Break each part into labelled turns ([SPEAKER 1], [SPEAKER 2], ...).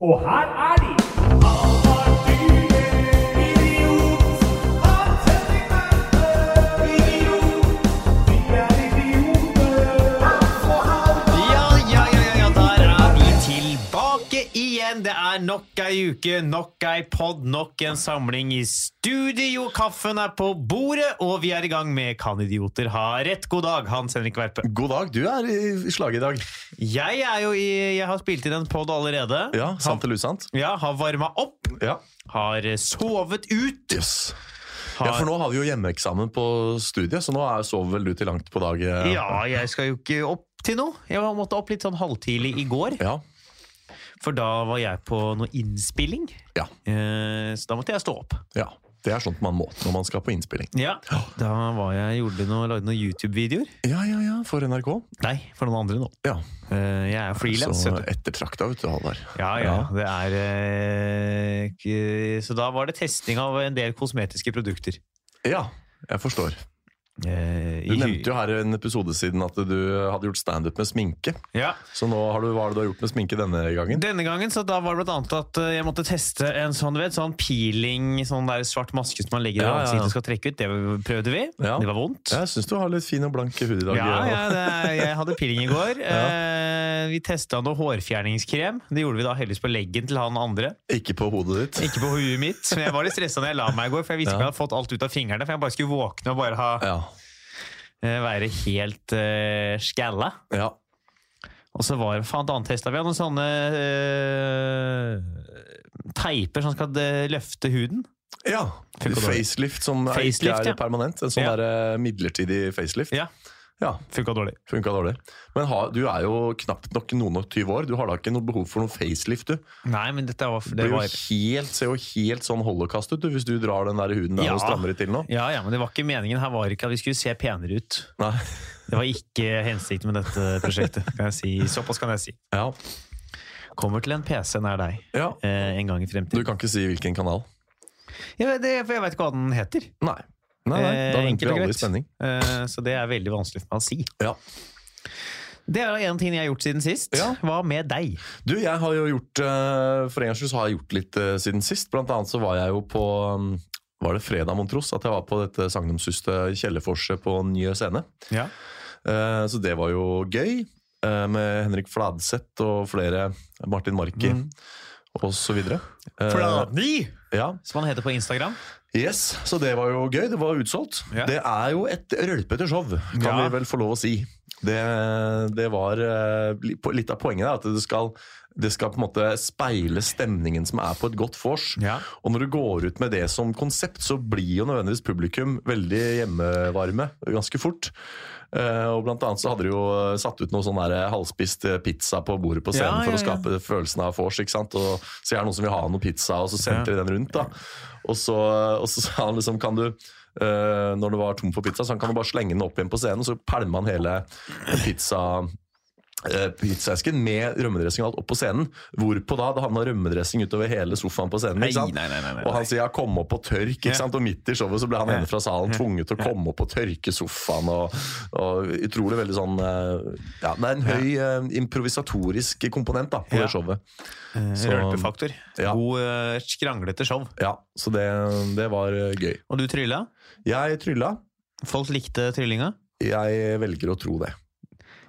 [SPEAKER 1] Og her er de!
[SPEAKER 2] Ja, ja, ja, ja, ja, der er vi tilbake igjen. Det er nok ei uke, nok ei pod, nok en samling i studio. Kaffen er på bordet, og vi er i gang med Kan idioter ha rett? God dag, Hans Henrik Verpe.
[SPEAKER 3] God dag, du er i slaget i dag.
[SPEAKER 2] Jeg er jo i Jeg har spilt inn en pod allerede.
[SPEAKER 3] Ja, Sant eller usant?
[SPEAKER 2] Ja, har varma opp.
[SPEAKER 3] Ja.
[SPEAKER 2] Har eh, sovet ut.
[SPEAKER 3] Yes. Ja, for nå har vi jo hjemmeeksamen på studiet, så nå er- sover vel du til langt på dag. eh?
[SPEAKER 2] Ja, jeg skal jo ikke opp til noe. Jeg måtte opp litt sånn halvtidlig i går,
[SPEAKER 3] Ja.
[SPEAKER 2] for da var jeg på noe innspilling.
[SPEAKER 3] ja.
[SPEAKER 2] Eh, Så da måtte jeg stå opp.
[SPEAKER 3] ja. Det er sånt man må når man skal på innspilling.
[SPEAKER 2] Ja, da var jeg, gjorde noe, lagde noen YouTube-videoer.
[SPEAKER 3] Ja, ja, ja, for NRK.
[SPEAKER 2] Nei, for noen andre nå.
[SPEAKER 3] Ja.
[SPEAKER 2] Eh, jeg er frilans,
[SPEAKER 3] Så
[SPEAKER 2] vet du.
[SPEAKER 3] ettertrakta, vet du, Halvard.
[SPEAKER 2] Ja, ja, det er eh, k- Så da var det testing av en del kosmetiske produkter.
[SPEAKER 3] Ja, jeg forstår.
[SPEAKER 2] Eh,
[SPEAKER 3] Du
[SPEAKER 2] i-
[SPEAKER 3] nevnte jo her en episode siden at du hadde gjort standup med sminke.
[SPEAKER 2] Ja.
[SPEAKER 3] Så nå har du, hva er det du har gjort med sminke denne gangen?
[SPEAKER 2] Denne gangen så da var det blant annet at eh, jeg måtte teste en sånn, du vet, sånn peeling, sånn der svart maske som man legger i
[SPEAKER 3] Ja, ja, ja.
[SPEAKER 2] ansiktet og skal trekke ut. Det prøvde vi.
[SPEAKER 3] Ja.
[SPEAKER 2] Det var vondt.
[SPEAKER 3] Jeg syns du har litt fin og blank hud i dag.
[SPEAKER 2] Ja, ja det, er- jeg hadde peeling i går. Eh, vi testa noe hårfjerningskrem. Det gjorde vi da heldigvis på leggen til han andre.
[SPEAKER 3] Ikke på hodet ditt.
[SPEAKER 2] Ikke på huet mitt, men jeg var litt stressa når jeg la meg i går, for jeg visste ikke om jeg hadde fått alt ut av fingrene. For jeg bare skulle våkne og bare ha,
[SPEAKER 3] Ja.
[SPEAKER 2] eh, være helt uh, skalla.
[SPEAKER 3] ja.
[SPEAKER 2] Og så var det faen annet testa vi hadde noen sånne eh, teiper som skal eh, løfte huden.
[SPEAKER 3] Ja.
[SPEAKER 2] Fikk og dårlig.
[SPEAKER 3] Facelift som er-
[SPEAKER 2] Facelift,
[SPEAKER 3] ikke er
[SPEAKER 2] ja.
[SPEAKER 3] permanent. En sånn
[SPEAKER 2] Ja.
[SPEAKER 3] der, eh, midlertidig facelift.
[SPEAKER 2] Ja,
[SPEAKER 3] Ja,
[SPEAKER 2] funka dårlig.
[SPEAKER 3] Funka dårlig. Men ha, du er jo knapt nok noen og tyve år. Du har da ikke noe behov for noen facelift, du.
[SPEAKER 2] Nei, men dette var,
[SPEAKER 3] Det
[SPEAKER 2] det
[SPEAKER 3] blir jo
[SPEAKER 2] var
[SPEAKER 3] helt, ser jo helt sånn holocaust ut du, hvis du drar den der huden der
[SPEAKER 2] Ja.
[SPEAKER 3] og strammer det til nå.
[SPEAKER 2] ja, ja, men det var ikke meningen. Her var ikke at vi skulle se penere ut.
[SPEAKER 3] Nei.
[SPEAKER 2] Det var ikke hensikten med dette prosjektet. Kan jeg si. Såpass kan jeg si.
[SPEAKER 3] Ja.
[SPEAKER 2] Kommer til en PC nær deg
[SPEAKER 3] ja.
[SPEAKER 2] eh, en gang i
[SPEAKER 3] Du
[SPEAKER 2] fremtiden.
[SPEAKER 3] kan ikke si hvilken kanal.
[SPEAKER 2] Jeg, vet- det, for jeg veit ikke hva den heter.
[SPEAKER 3] Nei. Nei, nei. Da
[SPEAKER 2] Eh,
[SPEAKER 3] venter
[SPEAKER 2] enkelt og
[SPEAKER 3] vi alle i
[SPEAKER 2] greit.
[SPEAKER 3] spenning.
[SPEAKER 2] Eh, Så det er veldig vanskelig for meg å si.
[SPEAKER 3] Ja.
[SPEAKER 2] Det er en ting jeg har gjort siden sist.
[SPEAKER 3] Ja.
[SPEAKER 2] Hva med deg?
[SPEAKER 3] Du, jeg har jo gjort eh, For en gangs skyld så har jeg gjort litt eh, siden sist. Blant annet så var jeg jo på um, Var det fredag, mon tros? At jeg var på dette sagnomsuste Kjellerforset på Njø scene.
[SPEAKER 2] Ja.
[SPEAKER 3] Eh, Så det var jo gøy, eh, med Henrik Fladseth og flere, Martin Marki og så videre. Eh,
[SPEAKER 2] Fladny!
[SPEAKER 3] Ja,
[SPEAKER 2] Som han heter på Instagram.
[SPEAKER 3] yes, Så det var jo gøy. Det var utsolgt.
[SPEAKER 2] Ja.
[SPEAKER 3] Det er jo et rølpete show, kan
[SPEAKER 2] Ja.
[SPEAKER 3] vi vel få lov å si. Det, det var eh, li- på- Litt av poenget er at det skal, det skal på en måte speile stemningen som er på et godt vors.
[SPEAKER 2] Ja.
[SPEAKER 3] Og når du går ut med det som konsept, så blir jo nødvendigvis publikum veldig hjemmevarme ganske fort. Eh, og blant annet så hadde de jo eh, satt ut noe sånn der halvspist eh, pizza på bordet på scenen
[SPEAKER 2] Ja, ja,
[SPEAKER 3] for å skape følelsen av vors, ikke sant. Og så er det noen som vil ha noe pizza, og så sendte de den rundt, da. Og så, og så sa han liksom kan du eh, når det var tom for pizza, så han kan du bare slenge den opp igjen på scenen, og så pælmer han hele pizza eh, pizzaesken med rømmedressing og alt opp på scenen. Hvorpå da? Det havna rømmedressing utover hele sofaen på scenen. ikke sant?
[SPEAKER 2] Nei, nei, nei, nei, nei.
[SPEAKER 3] Og han sier 'kom opp og tørk', ikke
[SPEAKER 2] Ja.
[SPEAKER 3] sant? og midt i showet så ble han
[SPEAKER 2] Ja.
[SPEAKER 3] ene fra salen tvunget til å komme opp og tørke sofaen. Og, og utrolig veldig sånn eh, Ja, det er en høy eh, improvisatorisk komponent da, på
[SPEAKER 2] Ja.
[SPEAKER 3] det showet.
[SPEAKER 2] Så, Eh, Rølpefaktor.
[SPEAKER 3] Ja.
[SPEAKER 2] God eh, skranglete show.
[SPEAKER 3] Ja, Så det, det var eh, gøy.
[SPEAKER 2] Og du trylla?
[SPEAKER 3] Jeg trylla.
[SPEAKER 2] Folk likte tryllinga?
[SPEAKER 3] Jeg velger å tro det.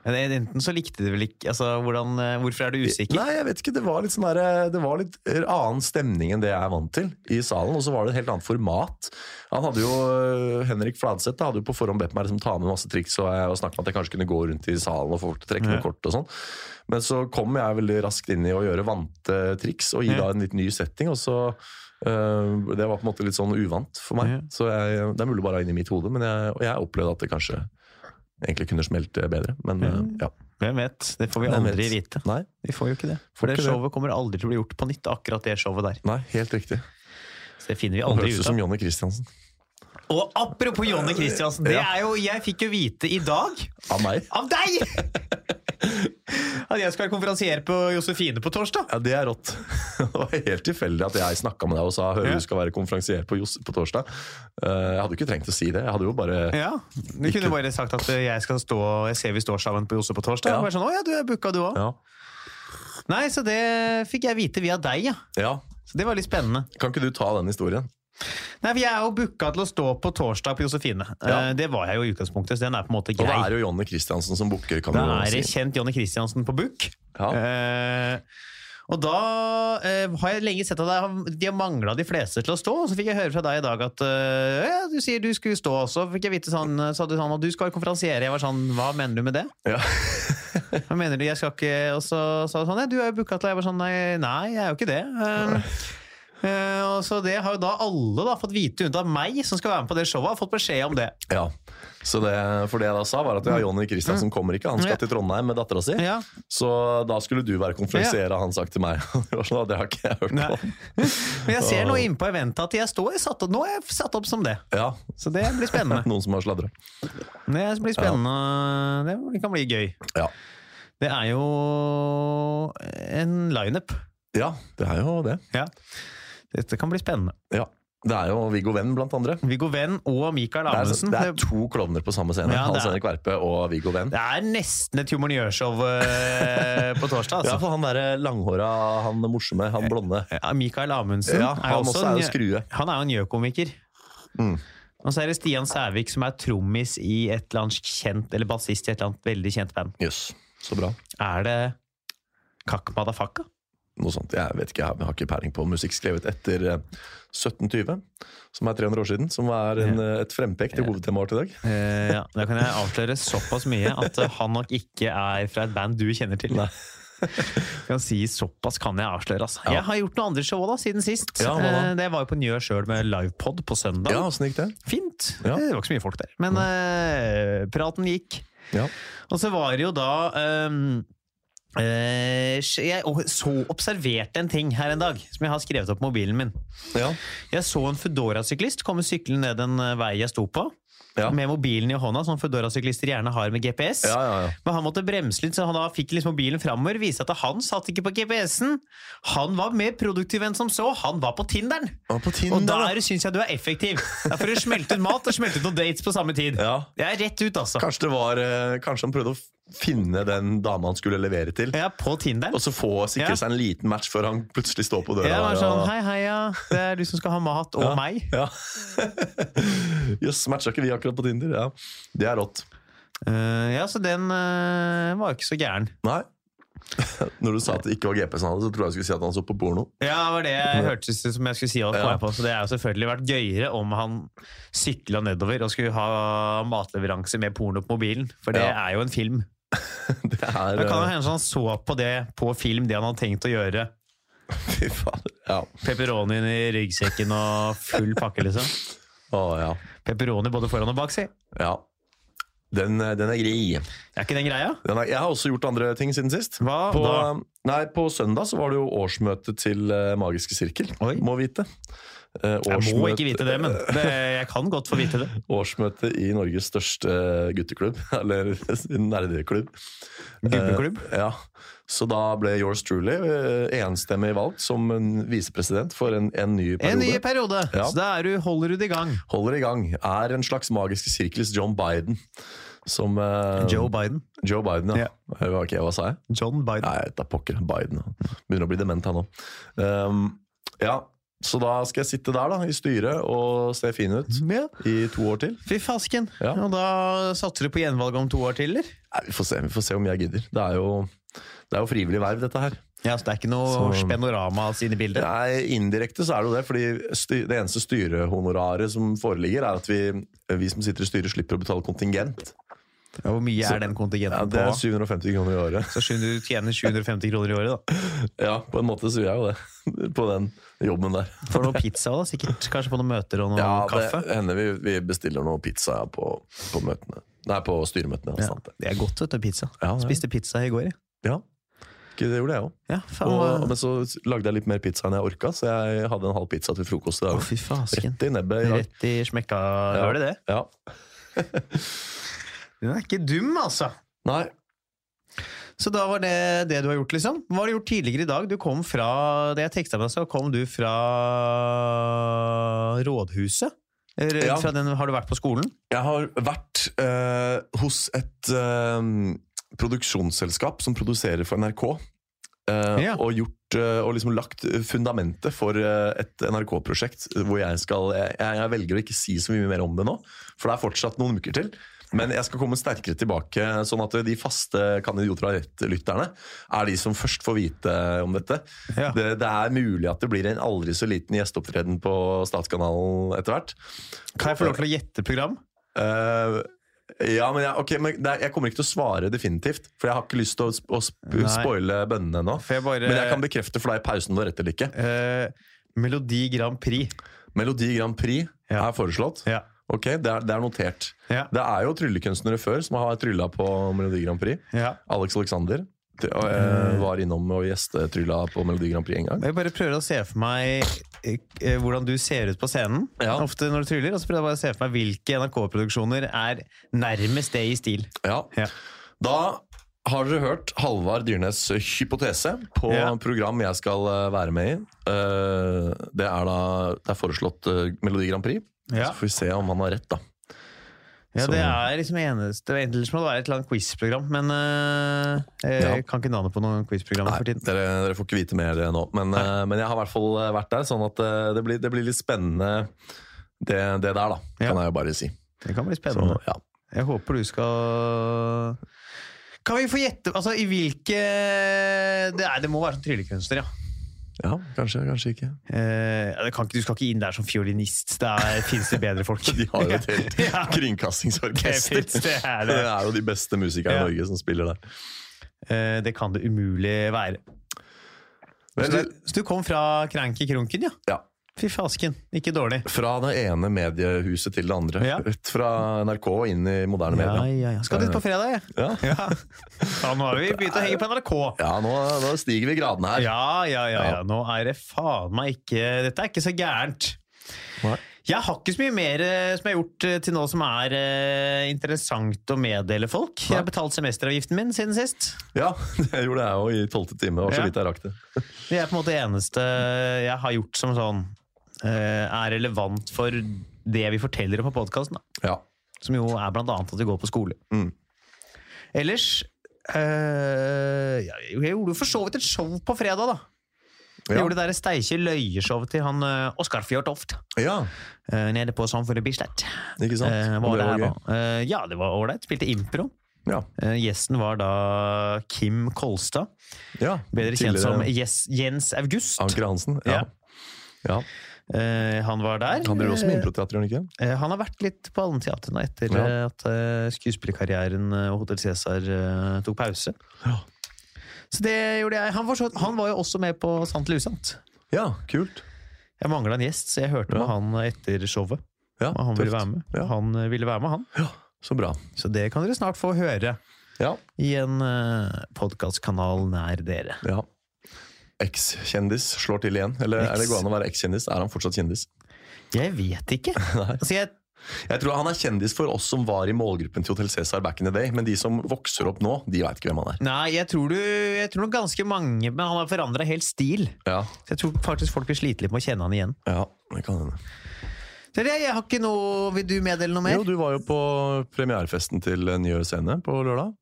[SPEAKER 2] Ja, det- Enten så likte de vel ikke altså, hvordan, eh, Hvorfor er du usikker?
[SPEAKER 3] Nei, jeg vet ikke. Det var litt, sånn der, det var litt annen stemning enn det jeg er vant til i salen. Og så var det et helt annet format. Han hadde jo, eh, Henrik Fladseth da, hadde jo på forhånd bedt meg liksom, ta med masse triks og, jeg- og snakke om at jeg kanskje kunne gå rundt i salen og få folk til å
[SPEAKER 2] Ja.
[SPEAKER 3] trekke noen kort og sånn. Men så kom jeg veldig raskt inn i å gjøre vante triks og gi
[SPEAKER 2] Ja.
[SPEAKER 3] da en litt ny setting. og så øh, det var på en måte litt sånn uvant for meg.
[SPEAKER 2] Ja.
[SPEAKER 3] Så jeg, Det er mulig bare å ha inn i mitt hode, men jeg, og jeg opplevde at det kanskje egentlig kunne smelt bedre. Men øh, ja.
[SPEAKER 2] Hvem vet? Det får vi
[SPEAKER 3] Hvem
[SPEAKER 2] aldri
[SPEAKER 3] vet?
[SPEAKER 2] vite.
[SPEAKER 3] Nei,
[SPEAKER 2] Vi får jo ikke det. For
[SPEAKER 3] Får
[SPEAKER 2] det
[SPEAKER 3] ikke det.
[SPEAKER 2] showet kommer aldri til å bli gjort på nytt, akkurat det showet der.
[SPEAKER 3] nei, helt riktig.
[SPEAKER 2] Så det finner vi
[SPEAKER 3] Han
[SPEAKER 2] aldri
[SPEAKER 3] høres
[SPEAKER 2] ut av.
[SPEAKER 3] ut som Jonny Christiansen.
[SPEAKER 2] Og apropos Jonny Christiansen, det
[SPEAKER 3] Ja.
[SPEAKER 2] er jo, jeg fikk jo vite i dag
[SPEAKER 3] Av meg?
[SPEAKER 2] av deg! At jeg skal være konferansier på Josefine på torsdag.
[SPEAKER 3] Ja, det er rått. Det var helt tilfeldig at jeg snakka med deg og sa hører
[SPEAKER 2] Ja.
[SPEAKER 3] du skal være konferansier på Johs på torsdag. Eh, Jeg hadde jo ikke trengt å si det. Jeg hadde jo bare
[SPEAKER 2] Ja, Du kunne bare sagt at eh, jeg skal stå, jeg ser vi står sammen på Jose på torsdag.
[SPEAKER 3] Ja.
[SPEAKER 2] Og bare sånn, å ja, du er booka du òg.
[SPEAKER 3] Ja.
[SPEAKER 2] Nei, så det fikk jeg vite via deg, ja.
[SPEAKER 3] Ja,
[SPEAKER 2] Så det var litt spennende.
[SPEAKER 3] Kan ikke du ta den historien?
[SPEAKER 2] Nei, for Jeg er jo booka til å stå på torsdag på Josefine.
[SPEAKER 3] Ja.
[SPEAKER 2] Eh, Det var jeg jo i utgangspunktet, så den er på en måte
[SPEAKER 3] Og det
[SPEAKER 2] grei.
[SPEAKER 3] er jo Jonny Christiansen som booker, kan
[SPEAKER 2] Da
[SPEAKER 3] du
[SPEAKER 2] er det
[SPEAKER 3] si.
[SPEAKER 2] kjent Jonny Christiansen på book.
[SPEAKER 3] Ja.
[SPEAKER 2] Eh, og da eh, har jeg lenge sett at det har- de har mangla de fleste til å stå. Og så fikk jeg høre fra deg i dag at eh, ja, du sier du skulle stå også. Fikk jeg vite sånn, eh, sa du sånn at du skal være konferansier. Jeg var sånn, hva mener du med det?
[SPEAKER 3] Ja.
[SPEAKER 2] Hva mener du, jeg skal ikke Og så sa du sånn, ja, du er jo booka til deg. Jeg var sånn, nei, nei, jeg er jo ikke det. Eh, eh, og så det har jo da alle da fått vite, unntatt meg som skal være med på det showet, har fått beskjed om det.
[SPEAKER 3] ja. Så det, for det jeg da sa, var at ja, Jonny Christiansen kommer ikke. Han skal til Trondheim med dattera si.
[SPEAKER 2] Mm. Ja.
[SPEAKER 3] Så da skulle du være konferansier, har han sagt til meg. Det var sånn, det har ikke jeg hørt
[SPEAKER 2] Nei.
[SPEAKER 3] om.
[SPEAKER 2] Men jeg ser nå inne på eventet at jeg står satt opp, nå er jeg satt opp som det.
[SPEAKER 3] Ja,
[SPEAKER 2] Så det blir spennende.
[SPEAKER 3] noen som har sladra.
[SPEAKER 2] Det blir spennende. Det kan bli gøy.
[SPEAKER 3] Ja.
[SPEAKER 2] Det er jo en lineup.
[SPEAKER 3] ja, det er jo det.
[SPEAKER 2] Ja. Dette kan bli spennende.
[SPEAKER 3] Ja. Det er jo Viggo Venn, blant andre.
[SPEAKER 2] Viggo Venn og Mikael
[SPEAKER 3] Det er,
[SPEAKER 2] Amundsen.
[SPEAKER 3] det er to klovner på samme scene.
[SPEAKER 2] Ja, det er-
[SPEAKER 3] Hans Henrik Verpe og Viggo Venn.
[SPEAKER 2] Det er nesten et humornjørshow eh, på torsdag,
[SPEAKER 3] Ja,
[SPEAKER 2] altså.
[SPEAKER 3] for han derre langhåra, han morsomme, han blonde.
[SPEAKER 2] Ja, Mikael Amundsen
[SPEAKER 3] Ja, han også er jo
[SPEAKER 2] en-
[SPEAKER 3] skrue.
[SPEAKER 2] Han er jo en gjøkomiker.
[SPEAKER 3] Mm.
[SPEAKER 2] Og så er det Stian Sævik som er trommis i et eller annet kjent, eller bassist i et eller annet veldig kjent band.
[SPEAKER 3] Jøss, så bra.
[SPEAKER 2] Er det Kakk Madafakka?
[SPEAKER 3] noe sånt. Jeg vet ikke, jeg har ikke peiling på musikk skrevet etter eh, 1720, som er 300 år siden, som er en, eh, et frempekt til hovedtemaet vårt i dag.
[SPEAKER 2] Eh, ja, Da kan jeg avsløre såpass mye at eh, han nok ikke er fra et band du kjenner til.
[SPEAKER 3] Nei.
[SPEAKER 2] kan si Såpass kan jeg avsløre. Altså. Jeg har gjort noen andre show også, da, siden sist.
[SPEAKER 3] Ja, hva da?
[SPEAKER 2] Eh, det var jo på Njø sjøl med livepod på søndag.
[SPEAKER 3] Ja, åssen gikk det?
[SPEAKER 2] Fint!
[SPEAKER 3] Ja.
[SPEAKER 2] Det var ikke så mye folk der. Men eh, praten gikk.
[SPEAKER 3] Ja.
[SPEAKER 2] Og så var det jo da ehm, eh, Jeg så observerte en ting her en dag som jeg har skrevet opp på mobilen min.
[SPEAKER 3] Ja.
[SPEAKER 2] Jeg så en Foodora-syklist komme syklende ned en eh, vei jeg sto på.
[SPEAKER 3] Ja.
[SPEAKER 2] Med mobilen i hånda, som Foodora-syklister gjerne har med GPS.
[SPEAKER 3] Ja, ja, ja.
[SPEAKER 2] Men han måtte bremse litt, så han da fikk liksom mobilen framover. Viste at han satt ikke på GPS-en. Han var mer produktiv enn som så. Han var på Tinderen!
[SPEAKER 3] Og på
[SPEAKER 2] Og
[SPEAKER 3] Tinder,
[SPEAKER 2] der syns jeg du er effektiv. Det er for å smelte ut mat og smelte ut noen dates på samme tid.
[SPEAKER 3] da. Ja.
[SPEAKER 2] Det er rett ut, altså.
[SPEAKER 3] Kanskje, det var, eh, kanskje han prøvde å f- finne den dama han skulle levere til,
[SPEAKER 2] Ja, på Tinderen.
[SPEAKER 3] og så få sikre seg en liten match før han plutselig står på døra.
[SPEAKER 2] Ja,
[SPEAKER 3] der,
[SPEAKER 2] var sånn,
[SPEAKER 3] og-
[SPEAKER 2] hei, hei, ja. Det er du som skal ha mat, og
[SPEAKER 3] Ja.
[SPEAKER 2] meg.
[SPEAKER 3] Ja. Jøss, matcha ikke vi akkurat på Tinder? Ja. Det er rått.
[SPEAKER 2] Eh, ja, så den eh, var jo ikke så gæren.
[SPEAKER 3] Nei. Når du sa at det ikke var GPS han hadde, så tror jeg du skulle si at han så på porno.
[SPEAKER 2] Ja, det var det jeg hørtes ut som jeg skulle si. Og kom
[SPEAKER 3] Ja.
[SPEAKER 2] jeg på. Så det er jo selvfølgelig vært gøyere om han sykla nedover og skulle ha matleveranse med porno på mobilen, for det
[SPEAKER 3] Ja.
[SPEAKER 2] er jo en film.
[SPEAKER 3] Det er,
[SPEAKER 2] Det kan jo
[SPEAKER 3] eh,
[SPEAKER 2] hende han så på det på film, det han hadde tenkt å gjøre.
[SPEAKER 3] Fy fader. Ja.
[SPEAKER 2] Pepperonien i ryggsekken og full pakke, liksom.
[SPEAKER 3] Å, ja.
[SPEAKER 2] Pepperoni både foran og bak, si.
[SPEAKER 3] Ja. Den, eh, den er grei.
[SPEAKER 2] Er ikke den greia?
[SPEAKER 3] Den er, jeg har også gjort andre ting siden sist.
[SPEAKER 2] Hva
[SPEAKER 3] På, eh,
[SPEAKER 2] da?
[SPEAKER 3] nei, på søndag så var det jo årsmøte til eh, Magiske sirkel,
[SPEAKER 2] Oi.
[SPEAKER 3] må vite. Eh,
[SPEAKER 2] Jeg må
[SPEAKER 3] årsmøte-
[SPEAKER 2] ikke vite det, men det, jeg kan godt få vite det.
[SPEAKER 3] Årsmøte i Norges største gutteklubb, eller nerdeklubb.
[SPEAKER 2] Gubbeklubb.
[SPEAKER 3] Eh, ja. Så da ble yours truly eh, enstemmig valgt som en visepresident for en, en ny
[SPEAKER 2] En ny
[SPEAKER 3] periode.
[SPEAKER 2] periode,
[SPEAKER 3] Ja.
[SPEAKER 2] så da er du, holder du det i gang.
[SPEAKER 3] Holder i gang. Er en slags magiske sirkels John Biden. Som eh,
[SPEAKER 2] Joe Biden.
[SPEAKER 3] Joe Biden, ja. Eh,
[SPEAKER 2] Ja.
[SPEAKER 3] Ok, hva sa jeg?
[SPEAKER 2] John Biden.
[SPEAKER 3] Nei, jeg vet da pokker. Biden. da. Begynner å bli dement, han òg. Um, ja, så da skal jeg sitte der, da, i styret, og se fin ut
[SPEAKER 2] Ja.
[SPEAKER 3] i to år til.
[SPEAKER 2] Fy fasken.
[SPEAKER 3] Ja.
[SPEAKER 2] Og da satser du på gjenvalg om to år til, eller?
[SPEAKER 3] Nei, vi får se, vi får se om jeg gidder. Det er jo, det er jo frivillig verv, dette her.
[SPEAKER 2] Ja, så det er ikke noe
[SPEAKER 3] Så-
[SPEAKER 2] spenorama inne i bildet?
[SPEAKER 3] Nei, indirekte så er det jo det, fordi sty det eneste styrehonoraret som foreligger, er at vi, vi som sitter i styret, slipper å betale kontingent.
[SPEAKER 2] Hvor mye
[SPEAKER 3] Så-
[SPEAKER 2] er den
[SPEAKER 3] Ja,
[SPEAKER 2] kontingenten
[SPEAKER 3] det er
[SPEAKER 2] på?
[SPEAKER 3] 750 kroner i året.
[SPEAKER 2] Så skjønner du tjener 750 kroner i året, da.
[SPEAKER 3] Ja, på en måte så gjør jeg jo det. På den jobben der.
[SPEAKER 2] Får noe pizza, da, sikkert. Kanskje på noen møter og noe
[SPEAKER 3] Ja,
[SPEAKER 2] kaffe.
[SPEAKER 3] det hender vi, vi bestiller noe pizza ja, på, på møtene. Nei, på styremøtene. Ja.
[SPEAKER 2] Ja,
[SPEAKER 3] Sant, det.
[SPEAKER 2] det er godt, vet du. Pizza.
[SPEAKER 3] Ja, det er.
[SPEAKER 2] Spiste pizza i går, jeg.
[SPEAKER 3] ja. Ikke det gjorde jeg òg.
[SPEAKER 2] Ja, faen.
[SPEAKER 3] Og,
[SPEAKER 2] hva-
[SPEAKER 3] men så lagde jeg litt mer pizza enn jeg orka, så jeg hadde en halv pizza til frokost
[SPEAKER 2] Å,
[SPEAKER 3] i dag.
[SPEAKER 2] fy fasken.
[SPEAKER 3] Rett i nebbet i dag.
[SPEAKER 2] Rett i smekka, hører du det?
[SPEAKER 3] Ja.
[SPEAKER 2] Den er ikke dum, altså.
[SPEAKER 3] Nei.
[SPEAKER 2] Så da var det det du har gjort, liksom. Hva har du gjort tidligere i dag? Du kom fra det jeg tekstet meg, så kom du fra rådhuset? Eller
[SPEAKER 3] Ja.
[SPEAKER 2] Fra den, har du vært på skolen?
[SPEAKER 3] Jeg har vært eh, hos et eh, produksjonsselskap som produserer for NRK. eh,
[SPEAKER 2] Ja.
[SPEAKER 3] og gjort eh, og liksom lagt fundamentet for eh, et NRK-prosjekt hvor jeg skal jeg, jeg velger å ikke si så mye mer om det nå, for det er fortsatt noen uker til. Men jeg skal komme sterkere tilbake, sånn at de faste Kan idioter ha rett-lytterne er de som først får vite om dette.
[SPEAKER 2] Ja.
[SPEAKER 3] Det, det er mulig at det blir en aldri så liten gjesteopptreden på Statskanalen etter hvert.
[SPEAKER 2] Kan jeg få lov til å gjette program?
[SPEAKER 3] Eh, ja, men, jeg, ok, men det, er- jeg kommer ikke til å svare definitivt, for jeg har ikke lyst til å, sp å sp
[SPEAKER 2] Nei.
[SPEAKER 3] spoile bønnene ennå.
[SPEAKER 2] For jeg bare
[SPEAKER 3] Men jeg kan bekrefte for deg i pausen vår rett eller ikke.
[SPEAKER 2] eh, Melodi Grand Prix.
[SPEAKER 3] Melodi Grand Prix
[SPEAKER 2] Ja.
[SPEAKER 3] er foreslått.
[SPEAKER 2] Ja.
[SPEAKER 3] Ok, det er, det er notert.
[SPEAKER 2] Ja.
[SPEAKER 3] Det er jo tryllekunstnere før som har trylla på Melodi Grand Prix.
[SPEAKER 2] ja.
[SPEAKER 3] Alex Alexander t- og, eh, var innom og gjestetrylla på Melodi Grand Prix en gang.
[SPEAKER 2] Jeg bare prøver å se for meg eh, eh, hvordan du ser ut på scenen
[SPEAKER 3] Ja.
[SPEAKER 2] ofte når du tryller. Og så prøver jeg bare å se for meg hvilke NRK-produksjoner er nærmest det i stil.
[SPEAKER 3] Ja.
[SPEAKER 2] Ja.
[SPEAKER 3] Da har dere hørt Halvard Dyrnes hypotese på
[SPEAKER 2] Ja.
[SPEAKER 3] program jeg skal eh, være med i. Eh, Det er da det er foreslått eh, Melodi Grand Prix.
[SPEAKER 2] Ja.
[SPEAKER 3] Så får vi se om han har rett, da.
[SPEAKER 2] Ja,
[SPEAKER 3] Så-
[SPEAKER 2] det er liksom eneste Ellers må det være et eller annet quiz-program, men eh, jeg
[SPEAKER 3] Ja.
[SPEAKER 2] kan ikke navnet på noen quiz-program
[SPEAKER 3] Nei,
[SPEAKER 2] for tiden.
[SPEAKER 3] dere, dere får ikke vite mer eh, nå. Men, eh, men jeg har i hvert fall eh, vært der, sånn at eh, det blir, det blir litt spennende det, det der, da.
[SPEAKER 2] Ja.
[SPEAKER 3] Kan jeg jo bare si.
[SPEAKER 2] Det kan bli
[SPEAKER 3] Så,
[SPEAKER 2] spennende.
[SPEAKER 3] ja.
[SPEAKER 2] Jeg håper du skal Kan vi få gjette Altså, i hvilke Det, er, det må være som tryllekunstner, ja.
[SPEAKER 3] ja, kanskje, kanskje ikke.
[SPEAKER 2] Eh, ja, det kan ikke, du skal ikke inn der som fiolinist. Der fins det bedre folk.
[SPEAKER 3] De har jo et helt
[SPEAKER 2] Ja. Det
[SPEAKER 3] kringkastingsorkester.
[SPEAKER 2] finnes, det er
[SPEAKER 3] Det
[SPEAKER 2] det.
[SPEAKER 3] er jo de beste musikerne
[SPEAKER 2] Ja.
[SPEAKER 3] i Norge som spiller der.
[SPEAKER 2] Eh, det kan det umulig være. Så
[SPEAKER 3] Men,
[SPEAKER 2] du, så du kom fra Kranky Krunken, ja?
[SPEAKER 3] ja.
[SPEAKER 2] Fy fasken, ikke dårlig.
[SPEAKER 3] Fra det ene mediehuset til det andre.
[SPEAKER 2] Ja.
[SPEAKER 3] Rett fra NRK og inn i moderne
[SPEAKER 2] Ja,
[SPEAKER 3] medier.
[SPEAKER 2] ja, ja. Skal dit på fredag, jeg.
[SPEAKER 3] Ja.
[SPEAKER 2] Ja. ja, nå har vi begynt å henge på NRK.
[SPEAKER 3] Ja, nå, nå stiger vi gradene her.
[SPEAKER 2] Ja, ja, ja, ja. Nå er det faen meg ikke Dette er ikke så gærent.
[SPEAKER 3] Nei.
[SPEAKER 2] Jeg har ikke så mye mer eh, som jeg har gjort eh, til nå som er eh, interessant å meddele folk. Jeg har betalt semesteravgiften min siden sist.
[SPEAKER 3] Ja, det gjorde jeg jo i tolvte time. Det var så
[SPEAKER 2] Ja.
[SPEAKER 3] vidt jeg rakk det.
[SPEAKER 2] Det er på en måte det eneste eh, jeg har gjort som sånn eh, er relevant for det vi forteller om på podkasten.
[SPEAKER 3] Ja.
[SPEAKER 2] Som jo er blant annet at vi går på skole.
[SPEAKER 3] Mm.
[SPEAKER 2] Ellers eh, Jeg jeg gjorde jo for så vidt et show på fredag, da. Jeg
[SPEAKER 3] Ja.
[SPEAKER 2] gjorde det der steikje løyeshowet til han eh, Oskar Fjørtoft
[SPEAKER 3] ja,
[SPEAKER 2] eh, nede på Samfunnet Bislett.
[SPEAKER 3] ikke sant?
[SPEAKER 2] Eh,
[SPEAKER 3] Og
[SPEAKER 2] var det
[SPEAKER 3] var
[SPEAKER 2] her,
[SPEAKER 3] gøy.
[SPEAKER 2] da. Eh, ja, det var ålreit. Spilte impro.
[SPEAKER 3] Ja.
[SPEAKER 2] Eh, gjesten var da Kim Kolstad.
[SPEAKER 3] ja.
[SPEAKER 2] Bedre kjent som
[SPEAKER 3] Tidligere
[SPEAKER 2] Jes- Jens August.
[SPEAKER 3] Anker Hansen. Ja.
[SPEAKER 2] Ja.
[SPEAKER 3] ja.
[SPEAKER 2] Eh, han var der.
[SPEAKER 3] Han driver også med
[SPEAKER 2] Eh,
[SPEAKER 3] improteater, gjør han ikke?
[SPEAKER 2] Eh, Han har vært litt på Allenteatret nå etter
[SPEAKER 3] Ja.
[SPEAKER 2] eh, at eh, skuespillerkarrieren eh, og Hotell Cæsar eh, tok pause.
[SPEAKER 3] Ja.
[SPEAKER 2] Så det gjorde jeg. Han var, så, han var jo også med på Sant eller usant.
[SPEAKER 3] Ja, kult.
[SPEAKER 2] Jeg mangla en gjest, så jeg hørte
[SPEAKER 3] Ja.
[SPEAKER 2] med han etter showet.
[SPEAKER 3] Ja,
[SPEAKER 2] Og han ville
[SPEAKER 3] tøft.
[SPEAKER 2] være med.
[SPEAKER 3] Ja.
[SPEAKER 2] Han eh, ville være med, han.
[SPEAKER 3] Ja, så bra.
[SPEAKER 2] Så det kan dere snart få høre
[SPEAKER 3] Ja,
[SPEAKER 2] i en uh, podkastkanal nær dere.
[SPEAKER 3] ja. Ekskjendis slår til igjen. Eller er det
[SPEAKER 2] Eks.
[SPEAKER 3] går an å være ekskjendis? Er han fortsatt kjendis?
[SPEAKER 2] Jeg vet ikke. altså, jeg,
[SPEAKER 3] Jeg tror han er kjendis for oss som var i målgruppen til Hotel Cæsar back in the day, men de som vokser opp nå, de veit ikke hvem han er.
[SPEAKER 2] nei, jeg tror, du, jeg tror nok ganske mange Men han har forandra helt stil.
[SPEAKER 3] Ja,
[SPEAKER 2] Så jeg tror faktisk folk vil slite litt med å kjenne han igjen.
[SPEAKER 3] ja, det kan hende.
[SPEAKER 2] Så det, jeg har ikke noe, Vil du meddele noe mer?
[SPEAKER 3] Jo, du var jo på premierefesten til Nye Scene på lørdag.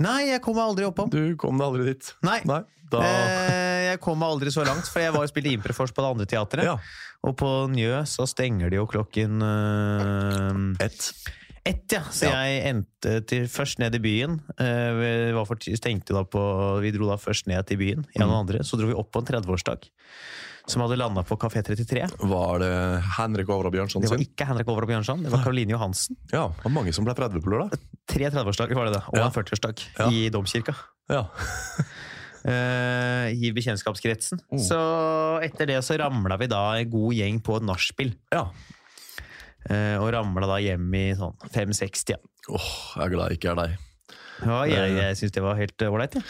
[SPEAKER 2] Nei, jeg kom meg aldri oppom.
[SPEAKER 3] Du kom deg aldri dit.
[SPEAKER 2] Nei.
[SPEAKER 3] Nei, da...
[SPEAKER 2] Eh, Jeg kom meg aldri så langt, for jeg var og spilte improfors på det andre teatret.
[SPEAKER 3] Ja,
[SPEAKER 2] Og på Njø så stenger de jo klokken eh,
[SPEAKER 3] ett.
[SPEAKER 2] ett, ja. Så
[SPEAKER 3] Ja.
[SPEAKER 2] jeg endte til, først ned i byen. Eh, vi, var for, ti- stengte da på, vi dro da først ned til byen, jeg og
[SPEAKER 3] Mm.
[SPEAKER 2] noen andre. Så dro vi opp på en 30-årsdag som hadde landa på Kafé 33.
[SPEAKER 3] Var det Henrik Overå Bjørnson
[SPEAKER 2] Det var
[SPEAKER 3] sin?
[SPEAKER 2] ikke Henrik Overhaug Bjørnson, det var Caroline Johansen.
[SPEAKER 3] Ja, det var mange som ble 30 på lørdag.
[SPEAKER 2] Tre 30-årsdager var det, da, og
[SPEAKER 3] Ja.
[SPEAKER 2] en 40-årsdag
[SPEAKER 3] Ja.
[SPEAKER 2] i domkirka.
[SPEAKER 3] Ja.
[SPEAKER 2] eh, i bekjentskapskretsen.
[SPEAKER 3] Mm.
[SPEAKER 2] Så etter det så ramla vi da en god gjeng på et nachspiel.
[SPEAKER 3] ja.
[SPEAKER 2] eh, og ramla da hjem i sånn 5-60. Ja.
[SPEAKER 3] Åh, jeg er glad jeg ikke er deg.
[SPEAKER 2] Ja, jeg jeg syns det var helt eh, ålreit. jeg.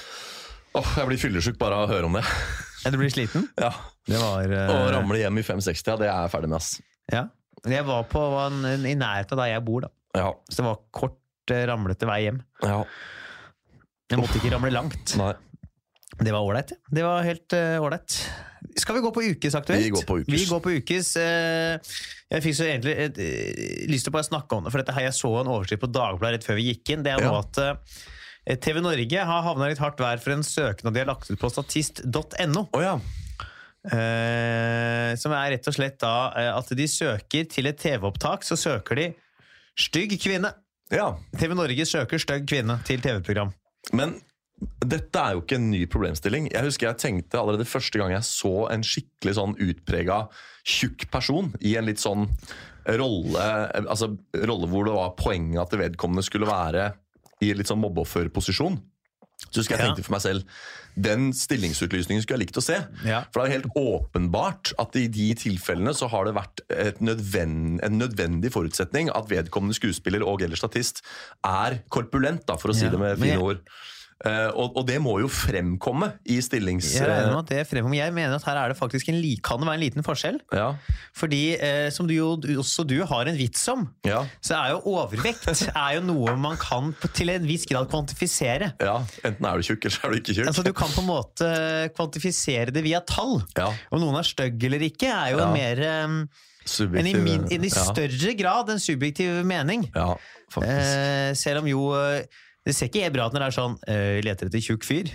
[SPEAKER 3] Åh, jeg blir fyllesyk bare av å høre om det.
[SPEAKER 2] Ja. Du blir sliten?
[SPEAKER 3] Ja.
[SPEAKER 2] Det var eh,
[SPEAKER 3] Å ramle hjem i 560, ja, det er jeg ferdig med, ass.
[SPEAKER 2] Ja. Jeg var på var en, en, i nærheten av der jeg bor, da.
[SPEAKER 3] Ja,
[SPEAKER 2] Så det var kort, eh, ramlete vei hjem.
[SPEAKER 3] ja.
[SPEAKER 2] Jeg måtte ikke ramle langt.
[SPEAKER 3] Nei.
[SPEAKER 2] Det var ålreit. ja. Det var helt eh, ålreit. Skal vi gå på ukesaktuelt?
[SPEAKER 3] Vi går på ukes.
[SPEAKER 2] Vi går på ukes. eh, jeg fikk så egentlig et, eh, lyst til å bare snakke om det, for dette her jeg så en oversikt på Dagbladet rett før vi gikk inn. Det er nå
[SPEAKER 3] Ja.
[SPEAKER 2] at eh, Eh, TV Norge har havna litt hardt vær for en søknad de har lagt ut på statist.no.
[SPEAKER 3] Å ja.
[SPEAKER 2] Eh, som er rett og slett da eh, at de søker til et TV-opptak, så søker de 'stygg kvinne'.
[SPEAKER 3] ja.
[SPEAKER 2] TV Norge søker 'stygg kvinne' til TV-program.
[SPEAKER 3] Men dette er jo ikke en ny problemstilling. Jeg husker jeg tenkte allerede første gang jeg så en skikkelig sånn utprega tjukk person i en litt sånn rolle altså rolle hvor det var poenget at det vedkommende skulle være i litt sånn mobbeofferposisjon. Så husker jeg
[SPEAKER 2] Ja.
[SPEAKER 3] tenkte for meg selv den stillingsutlysningen skulle jeg likt å se.
[SPEAKER 2] Ja.
[SPEAKER 3] For det er jo helt åpenbart at i de tilfellene så har det vært et nødven- en nødvendig forutsetning at vedkommende skuespiller og eller statist er korpulent, da, for å si
[SPEAKER 2] Ja,
[SPEAKER 3] det med
[SPEAKER 2] men
[SPEAKER 3] fine
[SPEAKER 2] jeg-
[SPEAKER 3] ord. Eh, og, og det må jo fremkomme i stillings...
[SPEAKER 2] Jeg regner med at det fremgår. Jeg mener at her er det faktisk en, li- kan det være en liten forskjell.
[SPEAKER 3] ja,
[SPEAKER 2] Fordi, eh, som du jo også du har en vits om,
[SPEAKER 3] ja,
[SPEAKER 2] så er jo overvekt er jo noe man kan på- til en viss grad kvantifisere.
[SPEAKER 3] ja. Enten er du tjukk, eller så er du ikke tjukk.
[SPEAKER 2] Altså Du kan på en måte kvantifisere det via tall.
[SPEAKER 3] Ja,
[SPEAKER 2] Om noen er stygg eller ikke, er jo
[SPEAKER 3] Ja.
[SPEAKER 2] mer um, en i,
[SPEAKER 3] subjektiv
[SPEAKER 2] min, en i
[SPEAKER 3] ja.
[SPEAKER 2] større grad en subjektiv mening.
[SPEAKER 3] Ja, faktisk.
[SPEAKER 2] Eh, selv om jo eh, det ser ikke helt bra ut når det er sånn eh, Vi leter etter tjukk fyr.